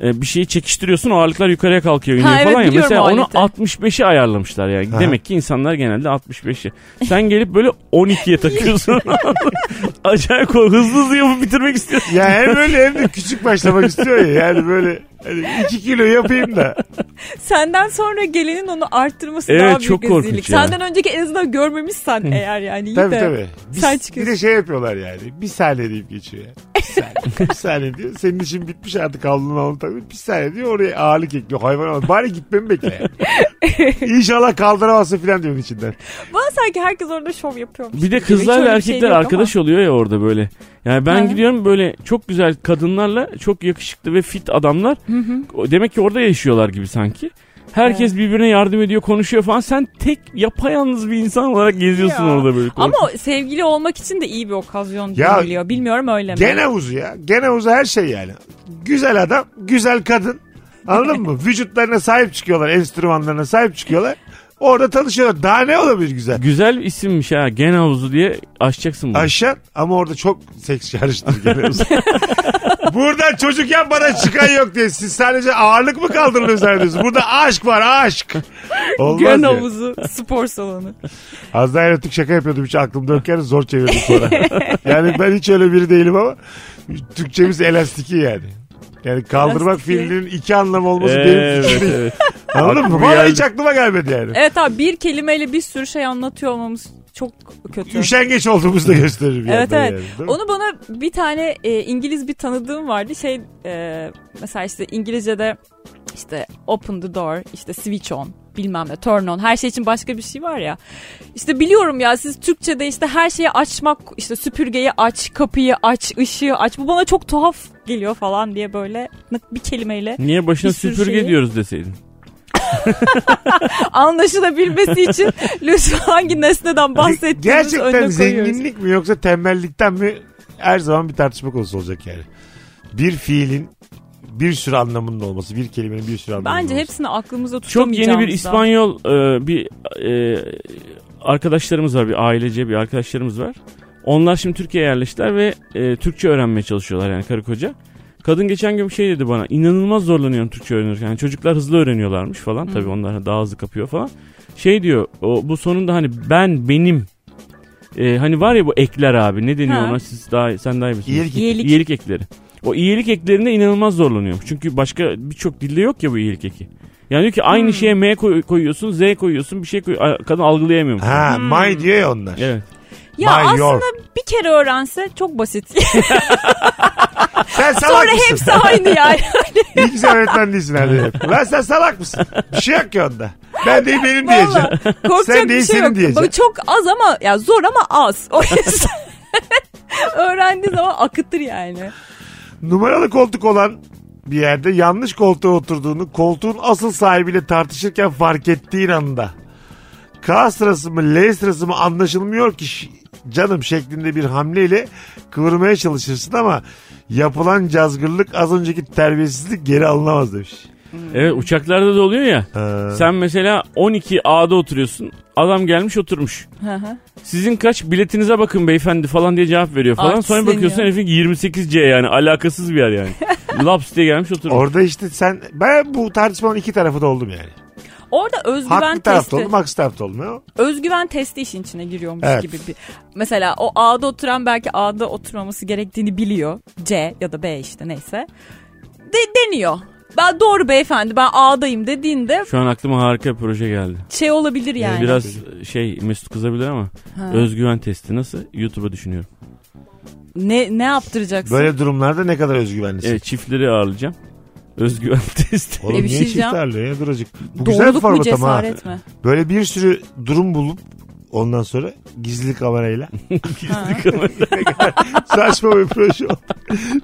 [SPEAKER 5] E, bir şeyi çekiştiriyorsun o ağırlıklar yukarıya kalkıyor iniyor
[SPEAKER 4] Ha, evet,
[SPEAKER 5] falan ya.
[SPEAKER 4] biliyorum
[SPEAKER 5] Mesela
[SPEAKER 4] o
[SPEAKER 5] onu
[SPEAKER 4] aleti.
[SPEAKER 5] 65'e ayarlamışlar yani.
[SPEAKER 3] Aha.
[SPEAKER 5] Demek ki insanlar genelde 65'e. Sen gelip böyle 12'ye
[SPEAKER 4] (laughs)
[SPEAKER 5] takıyorsun. Acayip kol- hızlı hızlı yapıp bitirmek istiyorsun.
[SPEAKER 3] Ya hem öyle hem de küçük başlamak istiyor ya. Yani böyle hani iki kilo yapayım da.
[SPEAKER 4] Senden sonra gelenin onu arttırması
[SPEAKER 5] Evet,
[SPEAKER 4] daha büyük
[SPEAKER 5] çok korkunç
[SPEAKER 4] rezillik.
[SPEAKER 5] ya.
[SPEAKER 4] Senden önceki en azından görmemişsen eğer yani iyi
[SPEAKER 3] Tabii
[SPEAKER 4] de.
[SPEAKER 3] tabii. Bir,
[SPEAKER 4] Sen
[SPEAKER 3] bir
[SPEAKER 4] çıkıyorsun.
[SPEAKER 3] de şey yapıyorlar yani. Bir saniye deyip geçiyor yani. Bir
[SPEAKER 4] (laughs)
[SPEAKER 3] saniye, bir saniye diyor. Senin işin bitmiş artık avlunu alın tabii. Bir saniye diyor oraya ağırlık ekliyor. Hayvan alın. Bari gitmemi bekle
[SPEAKER 4] (laughs)
[SPEAKER 3] yani. İnşallah kaldıramazsın falan diyor içinden.
[SPEAKER 4] Bana sanki herkes orada şov yapıyormuş.
[SPEAKER 5] Bir de
[SPEAKER 4] gibi. Hiç öyle
[SPEAKER 5] kızlarla
[SPEAKER 4] bir şey
[SPEAKER 5] erkekler
[SPEAKER 4] yok
[SPEAKER 5] arkadaş oluyor ya orada böyle. Yani ben
[SPEAKER 4] Ha.
[SPEAKER 5] gidiyorum böyle çok güzel kadınlarla çok yakışıklı ve fit adamlar.
[SPEAKER 4] ama. Hı hı.
[SPEAKER 5] O- Demek ki orada yaşıyorlar gibi sanki. Herkes birbirine yardım ediyor, konuşuyor falan. Sen tek yapayalnız bir insan olarak geziyorsun
[SPEAKER 4] Ya.
[SPEAKER 5] orada böyle.
[SPEAKER 4] Ama o sevgili olmak için de iyi bir okazyon
[SPEAKER 3] Ya-
[SPEAKER 4] deniliyor. Bilmiyorum öyle (laughs) mi?
[SPEAKER 3] Gene havuzu ya. Gene havuzu her şey yani. Güzel adam, güzel kadın. Anladın
[SPEAKER 4] (laughs)
[SPEAKER 3] mı? Vücutlarına sahip çıkıyorlar. Enstrümanlarına sahip çıkıyorlar. Orada tanışıyorlar. Daha ne olabilir güzel?
[SPEAKER 5] Güzel bir isimmiş ha. Gen havuzu diye açacaksın bunu.
[SPEAKER 3] Aşan ama orada çok seks çağrıştır geliyorsun. (laughs) Burada çocuk yapmadan çıkan yok diye siz sadece ağırlık mı kaldırılıyor zannediyorsunuz? Burada aşk var aşk. Olmaz
[SPEAKER 4] Göl
[SPEAKER 3] ya.
[SPEAKER 4] havuzu, spor salonu.
[SPEAKER 3] Az daha erotik şaka yapıyordum hiç aklım dökken zor çevirdim
[SPEAKER 4] (laughs)
[SPEAKER 3] sonra. yani ben hiç öyle biri değilim ama Türkçemiz elastiki yani. Yani kaldırmak
[SPEAKER 4] Elastiki.
[SPEAKER 3] fiilinin iki anlamı olması benim
[SPEAKER 5] Evet,
[SPEAKER 3] fikrim değil.
[SPEAKER 5] evet.
[SPEAKER 3] Anladın mı?
[SPEAKER 5] Aklıma
[SPEAKER 3] Bana
[SPEAKER 5] geldi.
[SPEAKER 3] hiç aklıma gelmedi yani.
[SPEAKER 4] Evet abi bir kelimeyle bir sürü şey anlatıyor olmamız çok kötü.
[SPEAKER 3] Üşengeç olduğumuzu da gösterir bir
[SPEAKER 4] Evet
[SPEAKER 3] yandan
[SPEAKER 4] evet.
[SPEAKER 3] yani, değil mi?
[SPEAKER 4] Onu bana bir tane e, İngiliz bir tanıdığım vardı. Şey e, mesela işte İngilizce'de işte open the door, işte switch on bilmem ne turn on her şey için başka bir şey var ya. İşte biliyorum ya siz Türkçe'de işte her şeyi açmak işte süpürgeyi aç, kapıyı aç, ışığı aç. Bu bana çok tuhaf geliyor falan diye böyle
[SPEAKER 3] (laughs)
[SPEAKER 4] bir kelimeyle
[SPEAKER 5] Niye başına
[SPEAKER 4] Bir sürü
[SPEAKER 5] süpürge
[SPEAKER 4] şeyi-
[SPEAKER 5] diyoruz deseydin.
[SPEAKER 4] anlaşılabilmesi için lütfen hangi nesneden bahsettiğimiz
[SPEAKER 3] Gerçekten
[SPEAKER 4] önüne koyuyoruz.
[SPEAKER 3] zenginlik mi yoksa tembellikten mi her zaman bir tartışma konusu olacak yani. Bir fiilin bir sürü anlamının olması, bir kelimenin bir sürü anlamının
[SPEAKER 4] Bence
[SPEAKER 3] olması.
[SPEAKER 4] hepsini aklımızda
[SPEAKER 5] Çok
[SPEAKER 4] tutamayacağımızdan.
[SPEAKER 5] yeni bir İspanyol e, bir e, arkadaşlarımız var. Bir ailece bir arkadaşlarımız var. Onlar şimdi Türkiye'ye yerleştiler ve e, Türkçe öğrenmeye çalışıyorlar yani karı koca. Kadın geçen gün bir şey dedi bana. İnanılmaz zorlanıyorum Türkçe öğrenirken. Yani çocuklar hızlı öğreniyorlarmış falan. Tabii onlar daha hızlı kapıyor falan. Şey diyor o, bu sonunda hani ben benim e, hani var ya bu ekler abi ne deniyor
[SPEAKER 4] Ha.
[SPEAKER 5] ona siz daha sen daha iyi misiniz?
[SPEAKER 3] İyilik-
[SPEAKER 4] İyilik.
[SPEAKER 5] İyilik ekleri. O iyilik eklerinde inanılmaz zorlanıyormuş. Çünkü başka birçok dilde yok ya bu iyilik eki. Yani diyor ki aynı
[SPEAKER 4] Hmm.
[SPEAKER 5] şeye M koy- koyuyorsun, Z koyuyorsun, bir şey koyuyorsun. Kadın algılayamıyor.
[SPEAKER 3] Ha, my diyor ya onlar.
[SPEAKER 5] Evet.
[SPEAKER 4] Hmm. Ya
[SPEAKER 3] My
[SPEAKER 4] aslında
[SPEAKER 3] York.
[SPEAKER 4] bir kere öğrense çok basit. (laughs)
[SPEAKER 3] Sen salak
[SPEAKER 4] Sonra
[SPEAKER 3] mısın?
[SPEAKER 4] hepsi aynı
[SPEAKER 3] (laughs)
[SPEAKER 4] yani.
[SPEAKER 3] İyi ki sen öğretmen değilsin
[SPEAKER 4] (laughs)
[SPEAKER 3] herhalde. Lan sen salak mısın? Bir şey yok ki onda. Ben değil benim diyeceğim.
[SPEAKER 4] Vallahi korkacak bir
[SPEAKER 3] değil,
[SPEAKER 4] şey
[SPEAKER 3] senin
[SPEAKER 4] yok.
[SPEAKER 3] diyeceğim.
[SPEAKER 4] Bak çok az ama ya zor ama az. O yüzden (laughs) öğrendiği zaman akıtır yani.
[SPEAKER 3] Numaralı koltuk olan bir yerde yanlış koltuğa oturduğunu koltuğun asıl sahibiyle tartışırken fark ettiğin anda K sırası mı L sırası mı anlaşılmıyor ki ş- canım şeklinde bir hamleyle kıvırmaya çalışırsın ama yapılan cazgırlık az önceki terbiyesizlik geri alınamaz demiş.
[SPEAKER 5] Evet
[SPEAKER 4] Hmm.
[SPEAKER 5] uçaklarda da oluyor ya. Sen mesela 12 A'da oturuyorsun. Adam gelmiş oturmuş.
[SPEAKER 4] Hı hı.
[SPEAKER 5] Sizin kaç biletinize bakın beyefendi falan diye cevap veriyor falan.
[SPEAKER 4] Artist
[SPEAKER 5] Sonra bakıyorsun
[SPEAKER 4] deniyor.
[SPEAKER 5] herifin 28C yani alakasız bir yer
[SPEAKER 4] (laughs)
[SPEAKER 5] yani. Laps diye gelmiş oturmuş.
[SPEAKER 3] Orada işte sen ben bu tartışmanın iki tarafı da oldum yani.
[SPEAKER 4] Orada özgüven
[SPEAKER 3] Haklı tarafta
[SPEAKER 4] testi.
[SPEAKER 3] oldum, haksız tarafta oldum. Ne o?
[SPEAKER 4] Özgüven testi işin içine giriyormuş
[SPEAKER 3] Evet.
[SPEAKER 4] gibi bir. Mesela o A'da oturan belki A'da oturmaması gerektiğini biliyor. C ya da B işte neyse. De, deniyor. Ben doğru beyefendi ben A'dayım dediğinde
[SPEAKER 5] Şu an aklıma harika bir proje geldi. Ee,
[SPEAKER 4] şey olabilir yani.
[SPEAKER 5] Biraz şey Mesut kızabilir ama
[SPEAKER 4] Ha.
[SPEAKER 5] özgüven testi nasıl? YouTube'a düşünüyorum.
[SPEAKER 4] Ne ne yaptıracaksın?
[SPEAKER 3] Böyle durumlarda ne kadar özgüvenlisin?
[SPEAKER 5] Evet, çiftleri ağırlayacağım. Özgüven (laughs) testi.
[SPEAKER 3] Oğlum
[SPEAKER 4] E bir
[SPEAKER 3] niye
[SPEAKER 4] şey
[SPEAKER 3] çift
[SPEAKER 4] diyeceğim.
[SPEAKER 3] ağırlıyor ya duracık? Bu güzel bir
[SPEAKER 4] Doğruluk mu
[SPEAKER 3] format ama. ha.
[SPEAKER 4] cesaret mi?
[SPEAKER 3] Böyle bir sürü durum bulup ondan sonra gizli
[SPEAKER 4] (laughs)
[SPEAKER 3] kamerayla. (laughs) Saçma bir proje oldu.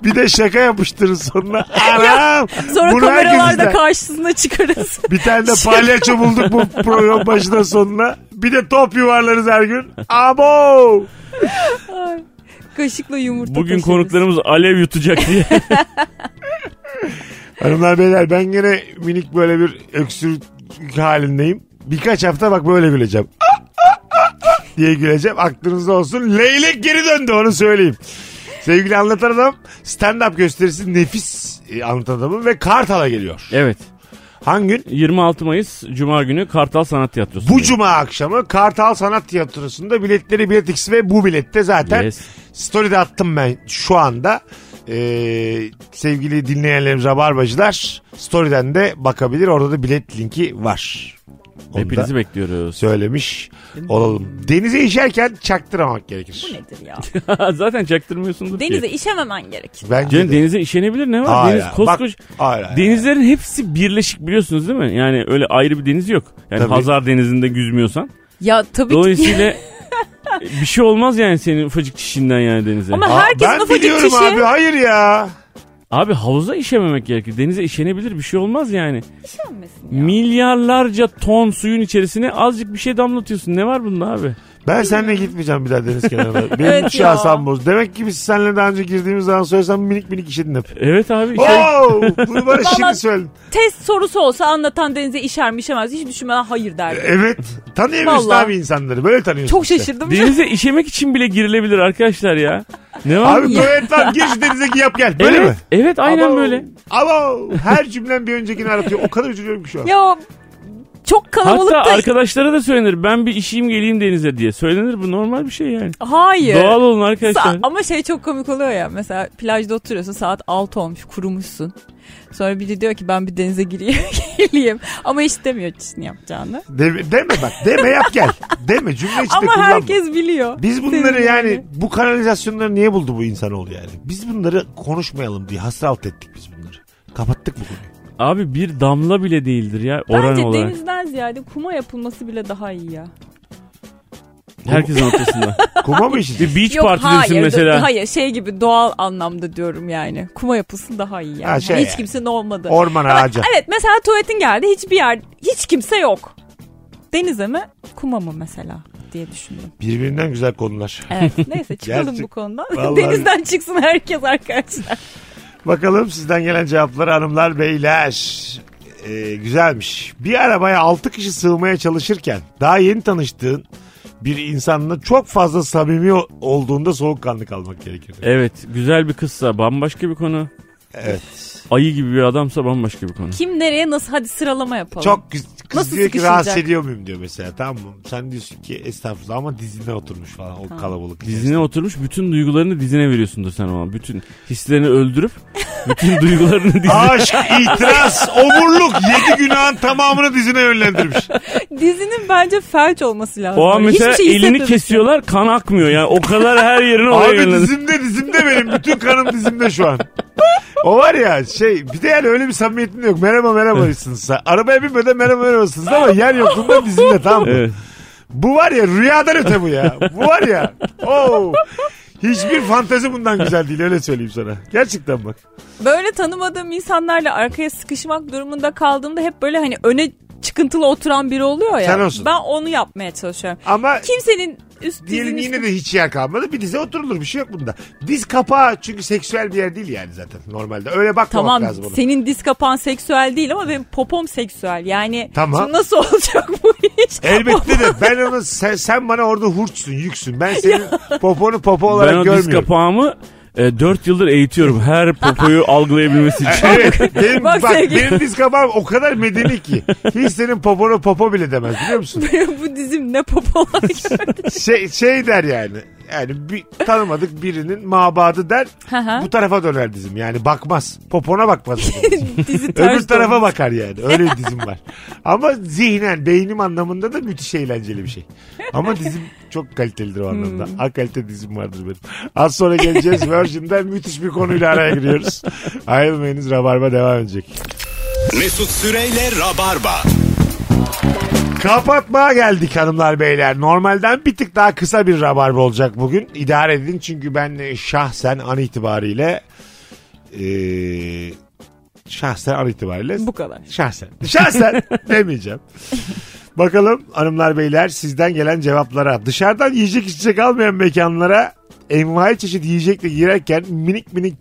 [SPEAKER 3] Bir de şaka yapıştırır
[SPEAKER 4] (laughs)
[SPEAKER 3] sonuna. Anam!
[SPEAKER 4] Sonra
[SPEAKER 3] Bunu herkes
[SPEAKER 4] kameralarda
[SPEAKER 3] izler. (laughs)
[SPEAKER 4] karşısına çıkarız.
[SPEAKER 3] Bir tane de palyaço bulduk
[SPEAKER 4] (laughs)
[SPEAKER 3] bu program başına sonuna. Bir de top yuvarlarız her gün. Abo!
[SPEAKER 4] Kaşıkla yumurta
[SPEAKER 5] Bugün
[SPEAKER 4] taşırız.
[SPEAKER 5] konuklarımız alev
[SPEAKER 4] (laughs)
[SPEAKER 5] yutacak diye.
[SPEAKER 3] Hanımlar beyler ben gene minik böyle bir öksürük halindeyim. Birkaç hafta bak böyle güleceğim. (laughs) diye güleceğim. Aklınızda olsun. Leylek geri döndü onu söyleyeyim. Sevgili anlatan adam stand-up gösterisi nefis e, anlatan adamın ve Kartal'a geliyor.
[SPEAKER 5] evet.
[SPEAKER 3] Hangi gün?
[SPEAKER 5] 26 Mayıs Cuma günü Kartal Sanat Tiyatrosu.
[SPEAKER 3] Bu cuma akşamı Kartal Sanat Tiyatrosu'nda biletleri Bilet X ve bu bilette zaten
[SPEAKER 5] Yes.
[SPEAKER 3] Story'de attım ben şu anda. Ee, sevgili dinleyenlerimiz Rabarbacılar Story'den de bakabilir. Orada da bilet linki var. Onu
[SPEAKER 5] Hepinizi
[SPEAKER 3] da
[SPEAKER 5] bekliyoruz.
[SPEAKER 3] söylemiş olalım. Denize işerken çaktırmamak
[SPEAKER 4] Bu
[SPEAKER 3] gerekir.
[SPEAKER 4] nedir
[SPEAKER 5] (laughs)
[SPEAKER 4] ya?
[SPEAKER 5] Zaten çaktırmıyorsundur
[SPEAKER 4] Denize
[SPEAKER 5] ki.
[SPEAKER 4] işememen gerek.
[SPEAKER 3] Bence
[SPEAKER 5] Canım
[SPEAKER 3] de.
[SPEAKER 5] denize işenebilir ne var?
[SPEAKER 3] Hayır,
[SPEAKER 5] Deniz koskoca.
[SPEAKER 3] bak- hayır, hayır.
[SPEAKER 5] Denizlerin hepsi birleşik biliyorsunuz değil mi? Yani öyle ayrı bir deniz yok. Yani
[SPEAKER 3] Tabii.
[SPEAKER 5] Hazar Denizi'nde yüzmüyorsan.
[SPEAKER 4] Ya tabii ki. (laughs)
[SPEAKER 5] Dolayısıyla bir şey olmaz yani senin ufacık çişinden yani denize.
[SPEAKER 4] Ama
[SPEAKER 3] Aa,
[SPEAKER 4] herkesin
[SPEAKER 3] ben
[SPEAKER 4] ufacık
[SPEAKER 3] biliyorum
[SPEAKER 4] çişi.
[SPEAKER 3] abi hayır ya.
[SPEAKER 5] Abi havuza işememek gerekir. Denize işenebilir bir şey olmaz yani.
[SPEAKER 4] İşemesin ya.
[SPEAKER 5] Milyarlarca ton suyun içerisine azıcık bir şey damlatıyorsun. Ne var bunda abi?
[SPEAKER 3] Ben seninle gitmeyeceğim bir daha deniz
[SPEAKER 4] (laughs)
[SPEAKER 3] kenarına. Benim
[SPEAKER 4] Evet ya.
[SPEAKER 3] şahsım boz. Demek ki biz seninle daha önce girdiğimiz zaman söylesem minik minik işedin hep.
[SPEAKER 5] Evet abi. şey- işte-
[SPEAKER 3] Oo, bunu bana
[SPEAKER 4] (laughs) Vallahi-
[SPEAKER 3] şimdi söyledin.
[SPEAKER 4] Test sorusu olsa anlatan denize işer mi işemez hiç düşünmeden
[SPEAKER 3] (laughs)
[SPEAKER 4] hayır derdi.
[SPEAKER 3] Evet. Tanıyamıyorsun
[SPEAKER 4] Vallahi.
[SPEAKER 3] abi insanları. Böyle tanıyorsun.
[SPEAKER 4] Çok
[SPEAKER 3] işte.
[SPEAKER 4] şaşırdım.
[SPEAKER 5] Denize işemek için bile girilebilir arkadaşlar ya. Ne var?
[SPEAKER 3] Abi tuvalet var. Gir şu denize yap gel. Böyle
[SPEAKER 5] evet,
[SPEAKER 3] mi?
[SPEAKER 5] evet aynen
[SPEAKER 3] Ama-
[SPEAKER 5] böyle.
[SPEAKER 3] Ama her cümlem bir öncekini aratıyor. O kadar üzülüyorum ki şu an.
[SPEAKER 4] (laughs) Ya çok kalabalık
[SPEAKER 5] Hatta
[SPEAKER 4] da...
[SPEAKER 5] arkadaşlara da söylenir. Ben bir işim geleyim denize diye. Söylenir bu normal bir şey yani.
[SPEAKER 4] Hayır.
[SPEAKER 5] Doğal olun arkadaşlar.
[SPEAKER 4] Sa- ama şey çok komik oluyor ya mesela plajda oturuyorsun saat 6 olmuş kurumuşsun. Sonra biri diyor ki ben bir denize gireyim, (laughs) geleyim. Ama hiç demiyor ne yapacağını.
[SPEAKER 3] Deme, deme bak deme yap gel. Deme cümle içinde
[SPEAKER 4] Ama
[SPEAKER 3] kullanma.
[SPEAKER 4] herkes biliyor.
[SPEAKER 3] Biz
[SPEAKER 4] Senin
[SPEAKER 3] bunları
[SPEAKER 4] gibi.
[SPEAKER 3] yani bu kanalizasyonları niye buldu bu insanoğlu yani? Biz bunları konuşmayalım diye hasrat ettik biz bunları. Kapattık bu konuyu.
[SPEAKER 5] Abi bir damla bile değildir ya oran
[SPEAKER 4] Bence
[SPEAKER 5] olarak.
[SPEAKER 4] denizden ziyade kuma yapılması bile daha iyi ya.
[SPEAKER 5] Herkesin
[SPEAKER 4] (laughs)
[SPEAKER 5] ortasında.
[SPEAKER 3] Kuma mı işin?
[SPEAKER 5] Bir beach party desin
[SPEAKER 4] do-
[SPEAKER 5] mesela.
[SPEAKER 4] hayır şey gibi doğal anlamda diyorum yani. Kuma yapılsın daha iyi yani.
[SPEAKER 3] Ha, şey
[SPEAKER 4] hiç
[SPEAKER 3] yani.
[SPEAKER 4] kimsenin olmadı.
[SPEAKER 3] Orman ağaca.
[SPEAKER 4] Evet mesela tuvaletin geldi hiçbir yer hiç kimse yok. Denize mi kuma mı mesela diye düşündüm.
[SPEAKER 3] Birbirinden güzel konular. (laughs)
[SPEAKER 4] Evet neyse çıkalım
[SPEAKER 3] Gerçek-
[SPEAKER 4] bu konudan.
[SPEAKER 3] Vallahi-
[SPEAKER 4] Denizden çıksın herkes arkadaşlar.
[SPEAKER 3] Bakalım sizden gelen cevapları hanımlar beyler. Ee, güzelmiş. Bir arabaya 6 kişi sığmaya çalışırken daha yeni tanıştığın bir insanla çok fazla samimi o- olduğunda soğukkanlı kalmak gerekir.
[SPEAKER 5] Evet güzel bir kızsa bambaşka bir konu.
[SPEAKER 3] Evet.
[SPEAKER 5] Ayı gibi bir adamsa bambaşka bir konu.
[SPEAKER 4] Kim nereye nasıl hadi sıralama yapalım.
[SPEAKER 3] Çok kız, kız
[SPEAKER 4] Nasıl
[SPEAKER 3] diyor ki
[SPEAKER 4] sıkışılacak?
[SPEAKER 3] rahatsız ediyor muyum diyor mesela tamam mı? Sen diyorsun ki estağfurullah ama dizine oturmuş falan o kalabalık.
[SPEAKER 5] Dizine oturmuş bütün duygularını dizine veriyorsundur sen ama. Bütün hislerini öldürüp bütün (laughs) duygularını dizine.
[SPEAKER 3] Aşk, itiraz, omurluk yedi günahın tamamını dizine yönlendirmiş.
[SPEAKER 4] Dizinin bence felç olması lazım.
[SPEAKER 5] O an
[SPEAKER 4] Hiçbir
[SPEAKER 5] mesela
[SPEAKER 4] şey
[SPEAKER 5] elini
[SPEAKER 4] hissetmemiş.
[SPEAKER 5] kesiyorlar kan akmıyor yani o kadar her
[SPEAKER 3] (laughs)
[SPEAKER 5] yerine oraya
[SPEAKER 3] Abi
[SPEAKER 5] yönlendir.
[SPEAKER 3] dizimde dizimde benim. Bütün kanım dizimde şu an. O var ya şey bir de yani öyle bir samimiyetin de yok. Merhaba merhaba diyorsunuz. Arabaya binmeden merhaba merhabasınız ama yer yokluğunda dizimde tamam mı?
[SPEAKER 5] Evet.
[SPEAKER 3] Bu var ya rüyadan öte bu ya. Bu var ya. Oo. Hiçbir fantezi bundan güzel değil öyle söyleyeyim sana. Gerçekten bak.
[SPEAKER 4] Böyle tanımadığım insanlarla arkaya sıkışmak durumunda kaldığımda hep böyle hani öne çıkıntılı oturan biri oluyor ya.
[SPEAKER 3] Sen olsun.
[SPEAKER 4] Ben onu yapmaya çalışıyorum.
[SPEAKER 3] Ama
[SPEAKER 4] Kimsenin üst
[SPEAKER 3] diyelim şey
[SPEAKER 4] dizinin
[SPEAKER 3] yine de hiç yer kalmadı. Bir dize oturulur bir şey yok bunda. Diz kapağı çünkü seksüel bir yer değil yani zaten normalde. Öyle bakmamak
[SPEAKER 4] Tamam
[SPEAKER 3] lazım ona.
[SPEAKER 4] senin diz kapağın seksüel değil ama benim popom seksüel. Yani
[SPEAKER 3] Tamam.
[SPEAKER 4] şimdi nasıl (laughs) olacak bu iş?
[SPEAKER 3] Elbette de ben onu sen, sen bana orada hurçsun yüksün. Ben senin poponu popo olarak
[SPEAKER 5] Ben o diz
[SPEAKER 3] görmüyorum.
[SPEAKER 5] kapağımı 4 yıldır eğitiyorum her
[SPEAKER 4] (laughs)
[SPEAKER 5] popoyu algılayabilmesi
[SPEAKER 3] (laughs)
[SPEAKER 5] için.
[SPEAKER 3] Evet benim, bak,
[SPEAKER 4] Bak sevgili-
[SPEAKER 3] benim diz kapağım o kadar medeni ki. Hiç senin poponu popo bile demez biliyor
[SPEAKER 4] (laughs)
[SPEAKER 3] musun?
[SPEAKER 4] (laughs) bu dizim ne
[SPEAKER 3] (laughs)
[SPEAKER 4] popo olacak?
[SPEAKER 3] Şey, şey der yani. Yani bir, tanımadık birinin mabadı der.
[SPEAKER 4] Hı hı.
[SPEAKER 3] bu tarafa döner dizim yani bakmaz. Popona bakmaz.
[SPEAKER 4] (laughs)
[SPEAKER 3] bu dizim.
[SPEAKER 4] Dizi ters
[SPEAKER 3] Öbür tarafa
[SPEAKER 4] olmuş.
[SPEAKER 3] bakar yani. Öyle bir dizim var. Ama zihnen, beynim anlamında da müthiş eğlenceli bir şey. Ama dizim çok kalitelidir o anlamda. A kalite dizim vardır benim. Az sonra geleceğiz. Virgin'den müthiş bir konuyla araya giriyoruz. Ayrılmayınız. Rabarba devam edecek.
[SPEAKER 2] Mesut Süreyle Rabarba.
[SPEAKER 3] Kapatmaya geldik hanımlar beyler. Normalden bir tık daha kısa bir rabarba olacak bugün. İdare edin çünkü ben e, şahsen an itibariyle eee, şahsen an itibariyle
[SPEAKER 4] Bu kadar.
[SPEAKER 3] Şahsen.
[SPEAKER 4] (laughs)
[SPEAKER 3] Şahsen demeyeceğim. Bakalım hanımlar beyler sizden gelen cevaplara. Dışarıdan yiyecek içecek almayan mekanlara envai çeşit yiyecekle girerken minik minik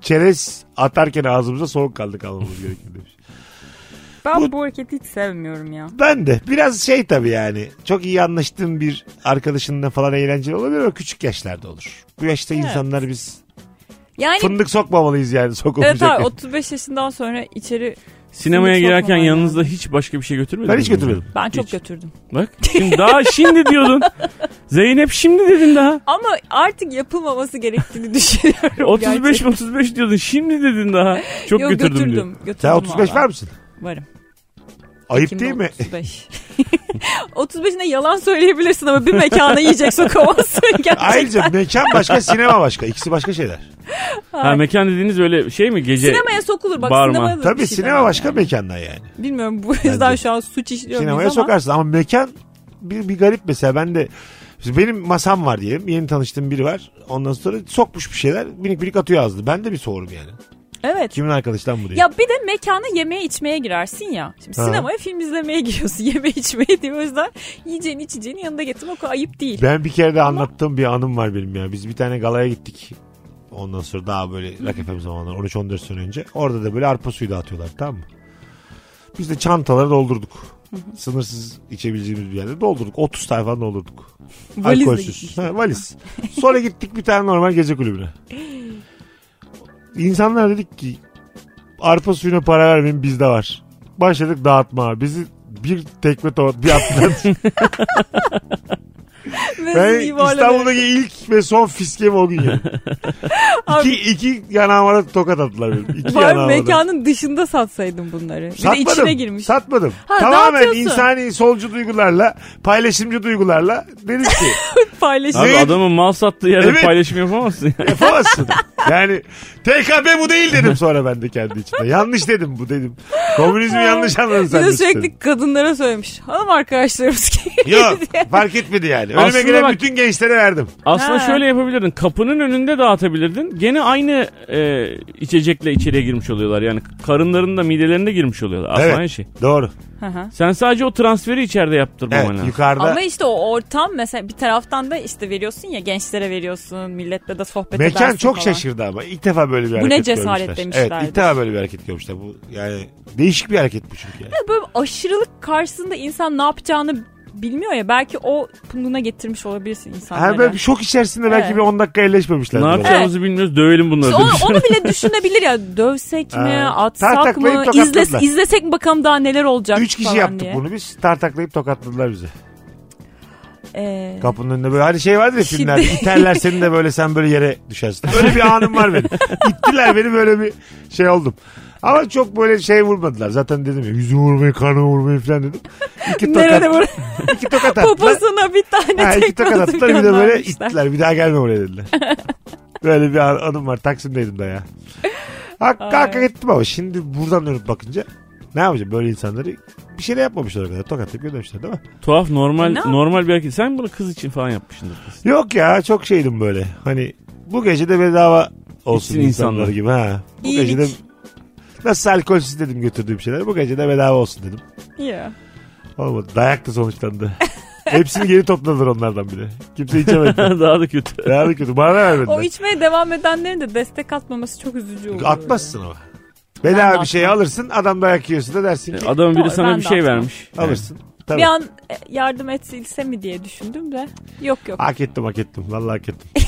[SPEAKER 3] çerez atarken ağzımıza soğuk kaldı kalmamız gerekiyor demiş.
[SPEAKER 4] Ben
[SPEAKER 3] Bu-
[SPEAKER 4] bu, hareketi hiç sevmiyorum ya.
[SPEAKER 3] Ben de biraz şey tabii yani çok iyi anlaştığım bir arkadaşınla falan eğlenceli olabilir ama küçük yaşlarda olur. Bu yaşta insanlar biz
[SPEAKER 4] Yani
[SPEAKER 3] fındık sokmamalıyız yani
[SPEAKER 4] Hani evet
[SPEAKER 3] sokulmayacak.
[SPEAKER 4] abi 35 yaşından sonra içeri
[SPEAKER 5] Sinemaya
[SPEAKER 4] Hiç
[SPEAKER 5] girerken
[SPEAKER 4] sokmaman
[SPEAKER 5] yanınızda hiç başka bir şey götürmediniz
[SPEAKER 3] ben hiç
[SPEAKER 5] mi?
[SPEAKER 3] götürmedim.
[SPEAKER 4] ben çok
[SPEAKER 5] Hiç.
[SPEAKER 4] götürdüm.
[SPEAKER 5] Bak şimdi daha
[SPEAKER 4] (laughs)
[SPEAKER 5] şimdi diyordun. Zeynep şimdi dedin daha.
[SPEAKER 4] Ama artık yapılmaması gerektiğini (laughs) düşünüyorum.
[SPEAKER 5] 35
[SPEAKER 4] gerçekten.
[SPEAKER 5] 35 diyordun şimdi dedin daha. Çok
[SPEAKER 4] Yok,
[SPEAKER 5] götürdüm,
[SPEAKER 4] götürdüm.
[SPEAKER 5] diyor.
[SPEAKER 4] götürdüm
[SPEAKER 3] Sen 35
[SPEAKER 4] valla.
[SPEAKER 3] var mısın?
[SPEAKER 4] Varım.
[SPEAKER 3] Ayıp
[SPEAKER 4] Kimde
[SPEAKER 3] değil mi?
[SPEAKER 4] (laughs) 35. 35'ine yalan söyleyebilirsin ama bir mekana
[SPEAKER 3] (laughs)
[SPEAKER 4] yiyecek sokamazsın gerçekten.
[SPEAKER 3] (laughs) Ayrıca mekan
[SPEAKER 4] (laughs)
[SPEAKER 3] başka sinema başka. İkisi başka şeyler.
[SPEAKER 5] Ha mekan dediğiniz öyle şey mi gece?
[SPEAKER 4] Sinemaya sokulur bak
[SPEAKER 5] Bağırma.
[SPEAKER 4] sinemaya da
[SPEAKER 3] Tabii
[SPEAKER 4] bir şey
[SPEAKER 3] sinema
[SPEAKER 4] demem
[SPEAKER 3] başka
[SPEAKER 4] yani.
[SPEAKER 3] mekanlar yani.
[SPEAKER 4] Bilmiyorum bu yüzden şu an suç işliyor muyuz
[SPEAKER 3] Sinemaya
[SPEAKER 4] ama.
[SPEAKER 3] sokarsın ama mekan bir, bir garip mesela ben de Şimdi benim masam var diyelim. Yeni tanıştığım biri var. Ondan sonra sokmuş bir şeyler. Minik minik atıyor ağzını. Ben de bir soğurum yani.
[SPEAKER 4] Evet.
[SPEAKER 3] Kimin arkadaşı lan bu diye.
[SPEAKER 4] Ya bir de mekana yemeğe içmeye girersin ya. Şimdi
[SPEAKER 3] Ha.
[SPEAKER 4] sinemaya film izlemeye giriyorsun. (laughs) Yeme içmeye diye. O yüzden yiyeceğini içeceğini yanında getirmek o kadar ayıp değil.
[SPEAKER 3] Ben bir kere de anlattığım bir anım var benim ya. Biz bir tane galaya gittik. Ondan sonra daha böyle Rock FM zamanlar 13-14 sene önce. Orada da böyle arpa suyu dağıtıyorlar tamam mı? Biz de çantaları doldurduk. Sınırsız içebileceğimiz bir yerde doldurduk. 30 tane falan doldurduk.
[SPEAKER 4] Valizle
[SPEAKER 3] Alkolsüz.
[SPEAKER 4] gitmiş.
[SPEAKER 3] Ha, valiz. Sonra gittik bir tane normal gece kulübüne. İnsanlar dedik ki arpa suyuna para vermeyin bizde var. Başladık dağıtma. Bizi bir tekme tokat bir atlat. ben
[SPEAKER 4] Mezun yuvarlanıyor.
[SPEAKER 3] İstanbul'daki ilk ve son fiskemi o gün yedim.
[SPEAKER 4] (laughs) Abi-
[SPEAKER 3] iki, iki yanağıma da tokat attılar benim. İki
[SPEAKER 4] Var
[SPEAKER 3] yanağıma da.
[SPEAKER 4] mekanın dışında satsaydın bunları. Bir de
[SPEAKER 3] Satmadım.
[SPEAKER 4] içine girmiş.
[SPEAKER 3] Satmadım.
[SPEAKER 4] Ha,
[SPEAKER 3] Tamamen
[SPEAKER 4] dağıtıyorsun.
[SPEAKER 3] insani solcu duygularla, paylaşımcı duygularla dedim ki
[SPEAKER 4] Paylaşım.
[SPEAKER 5] Abi
[SPEAKER 3] Zeyn-
[SPEAKER 5] adamın mal sattığı yerde
[SPEAKER 3] Evet. (laughs)
[SPEAKER 5] paylaşım yapamazsın. ya.
[SPEAKER 3] yapamazsın. "E, Yani TKP bu değil dedim sonra ben de kendi içimde. Yanlış dedim bu dedim. Komünizmi yanlış anladın
[SPEAKER 4] Bir
[SPEAKER 3] sen.
[SPEAKER 4] de
[SPEAKER 3] Mesut
[SPEAKER 4] sürekli
[SPEAKER 3] dedim.
[SPEAKER 4] kadınlara söylemiş. Hanım arkadaşlarımız ki.
[SPEAKER 3] (laughs) Yok fark etmedi yani. Önüme
[SPEAKER 5] Aslında
[SPEAKER 3] gelen
[SPEAKER 5] bak-
[SPEAKER 3] bütün gençlere verdim.
[SPEAKER 5] Aslında
[SPEAKER 4] Ha.
[SPEAKER 5] şöyle yapabilirdin. Kapının önünde dağıtabilirdin. Gene aynı e, içecekle içeriye girmiş oluyorlar. Yani karınlarında midelerinde girmiş oluyorlar. Aslında
[SPEAKER 3] Evet.
[SPEAKER 5] aynı şey.
[SPEAKER 3] Doğru.
[SPEAKER 4] Hı hı.
[SPEAKER 5] Sen sadece o transferi içeride yaptırmaman
[SPEAKER 3] Evet
[SPEAKER 5] lazım.
[SPEAKER 3] yukarıda.
[SPEAKER 4] Ama işte o ortam mesela bir taraftan da işte veriyorsun ya gençlere veriyorsun milletle de sohbet
[SPEAKER 3] Mekan
[SPEAKER 4] edersin
[SPEAKER 3] çok
[SPEAKER 4] falan.
[SPEAKER 3] şaşırdı ama ilk defa böyle bir
[SPEAKER 4] ne
[SPEAKER 3] hareket
[SPEAKER 4] cesaret
[SPEAKER 3] görmüşler.
[SPEAKER 4] demişlerdir.
[SPEAKER 3] Evet ilk defa böyle bir hareket görmüşler. Bu yani değişik bir hareket bu çünkü. yani.
[SPEAKER 4] Böyle aşırılık karşısında insan ne yapacağını bilmiyor ya belki o punduna getirmiş olabilirsin insanlara.
[SPEAKER 3] Her böyle bir şey şok içerisinde belki
[SPEAKER 4] Evet.
[SPEAKER 3] bir 10 dakika elleşmemişler.
[SPEAKER 5] Ne yapacağımızı bilmiyoruz. Dövelim bunları.
[SPEAKER 4] İşte onu,
[SPEAKER 5] demiş.
[SPEAKER 4] onu bile düşünebilir ya dövsek
[SPEAKER 3] (laughs)
[SPEAKER 4] mi
[SPEAKER 3] Ha,
[SPEAKER 4] atsak
[SPEAKER 3] tartaklayıp
[SPEAKER 4] mı
[SPEAKER 3] tokatladılar.
[SPEAKER 4] izles, izlesek mi bakalım daha neler olacak
[SPEAKER 3] Üç kişi
[SPEAKER 4] falan
[SPEAKER 3] yaptık
[SPEAKER 4] diye.
[SPEAKER 3] bunu biz. Tartaklayıp tokatladılar bizi.
[SPEAKER 4] Ee,
[SPEAKER 3] Kapının önünde böyle hani şey vardır ya
[SPEAKER 4] Şimdi-
[SPEAKER 3] filmlerde. İterler seni de böyle sen böyle yere düşersin. Böyle bir anım var
[SPEAKER 4] (laughs)
[SPEAKER 3] benim. İttiler beni böyle bir şey oldum. Ama çok böyle şey vurmadılar. Zaten dedim ya yüzü vurmayı, karnı vurmayı falan dedim. İki tokat,
[SPEAKER 4] nerede böyle
[SPEAKER 3] iki
[SPEAKER 4] (laughs)
[SPEAKER 3] tokat attılar.
[SPEAKER 4] poposuna bir tane
[SPEAKER 3] Ha, iki
[SPEAKER 4] tekme
[SPEAKER 3] tokat
[SPEAKER 4] atıp
[SPEAKER 3] attılar bir de böyle
[SPEAKER 4] göndermişler.
[SPEAKER 3] ittiler. Bir daha gelme buraya dediler. böyle bir an- anım var. Taksim'deydim da ya. Hak, hak ettim ama şimdi buradan dönüp bakınca ne yapacağım böyle insanları bir şey de yapmamışlar o kadar. Tokatlayıp göndermişler değil mi?
[SPEAKER 5] (laughs) Tuhaf normal
[SPEAKER 4] Ne yap-
[SPEAKER 5] normal bir hareket. Sen bunu kız için falan yapmışsındır.
[SPEAKER 3] (laughs) Yok ya çok şeydim böyle. Hani bu gece de bedava olsun
[SPEAKER 5] İçsin
[SPEAKER 3] insanlar
[SPEAKER 5] insanlar.
[SPEAKER 3] gibi ha. Bu
[SPEAKER 4] İyilik.
[SPEAKER 3] gece de nasıl alkolsüz dedim götürdüğüm şeyler. Bu gece de bedava olsun dedim.
[SPEAKER 4] Ya.
[SPEAKER 3] Olmadı. Dayak da
[SPEAKER 4] (laughs)
[SPEAKER 3] sonuçlandı. Hepsini geri topladılar onlardan bile. Kimse
[SPEAKER 4] (laughs)
[SPEAKER 3] içemedi.
[SPEAKER 5] (laughs) Daha da kötü.
[SPEAKER 3] Daha da kötü. Bana da
[SPEAKER 4] O
[SPEAKER 3] vermediler.
[SPEAKER 4] içmeye devam edenlerin de destek atmaması çok üzücü oluyor.
[SPEAKER 3] Atmazsın ama.
[SPEAKER 4] Ben de
[SPEAKER 3] Bedava bir şey alırsın. Adam dayak yiyorsa da dersin ki
[SPEAKER 5] Adamın
[SPEAKER 4] Doğru,
[SPEAKER 5] biri
[SPEAKER 4] ben
[SPEAKER 5] sana bir
[SPEAKER 4] de
[SPEAKER 5] şey
[SPEAKER 4] atmam.
[SPEAKER 5] vermiş.
[SPEAKER 3] alırsın. Tabii.
[SPEAKER 4] Bir an e, yardım etsilse mi diye düşündüm de yok yok.
[SPEAKER 3] Hak ettim hak ettim. Vallahi hak ettim.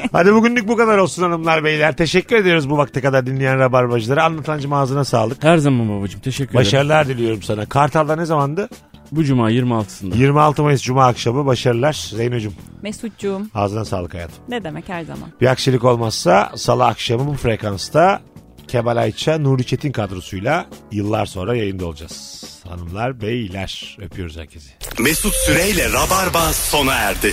[SPEAKER 4] (laughs)
[SPEAKER 3] Hadi bugünlük bu kadar olsun hanımlar beyler. Teşekkür ediyoruz bu vakte kadar dinleyen rabarbacıları. Anlatancım ağzına sağlık.
[SPEAKER 5] Her zaman babacığım teşekkür ederim.
[SPEAKER 3] Başarılar diliyorum sana. Kartal'da ne zamandı?
[SPEAKER 5] Bu cuma 26'sında.
[SPEAKER 3] 26 Mayıs Cuma akşamı başarılar. Zeyno'cum
[SPEAKER 4] Mesutcuğum
[SPEAKER 3] ağzına sağlık hayatım.
[SPEAKER 4] ne demek her zaman.
[SPEAKER 3] Bir aksilik olmazsa salı akşamı bu frekansta Kemal Ayça, Nuri Çetin kadrosuyla yıllar sonra yayında olacağız. Hanımlar, beyler öpüyoruz herkesi.
[SPEAKER 2] Mesut Süreyle Rabarba sona erdi.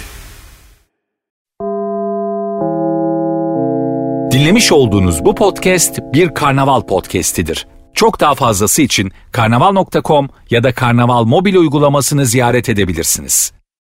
[SPEAKER 1] Dinlemiş olduğunuz bu podcast bir karnaval podcastidir. Çok daha fazlası için karnaval.com ya da karnaval mobil uygulamasını ziyaret edebilirsiniz.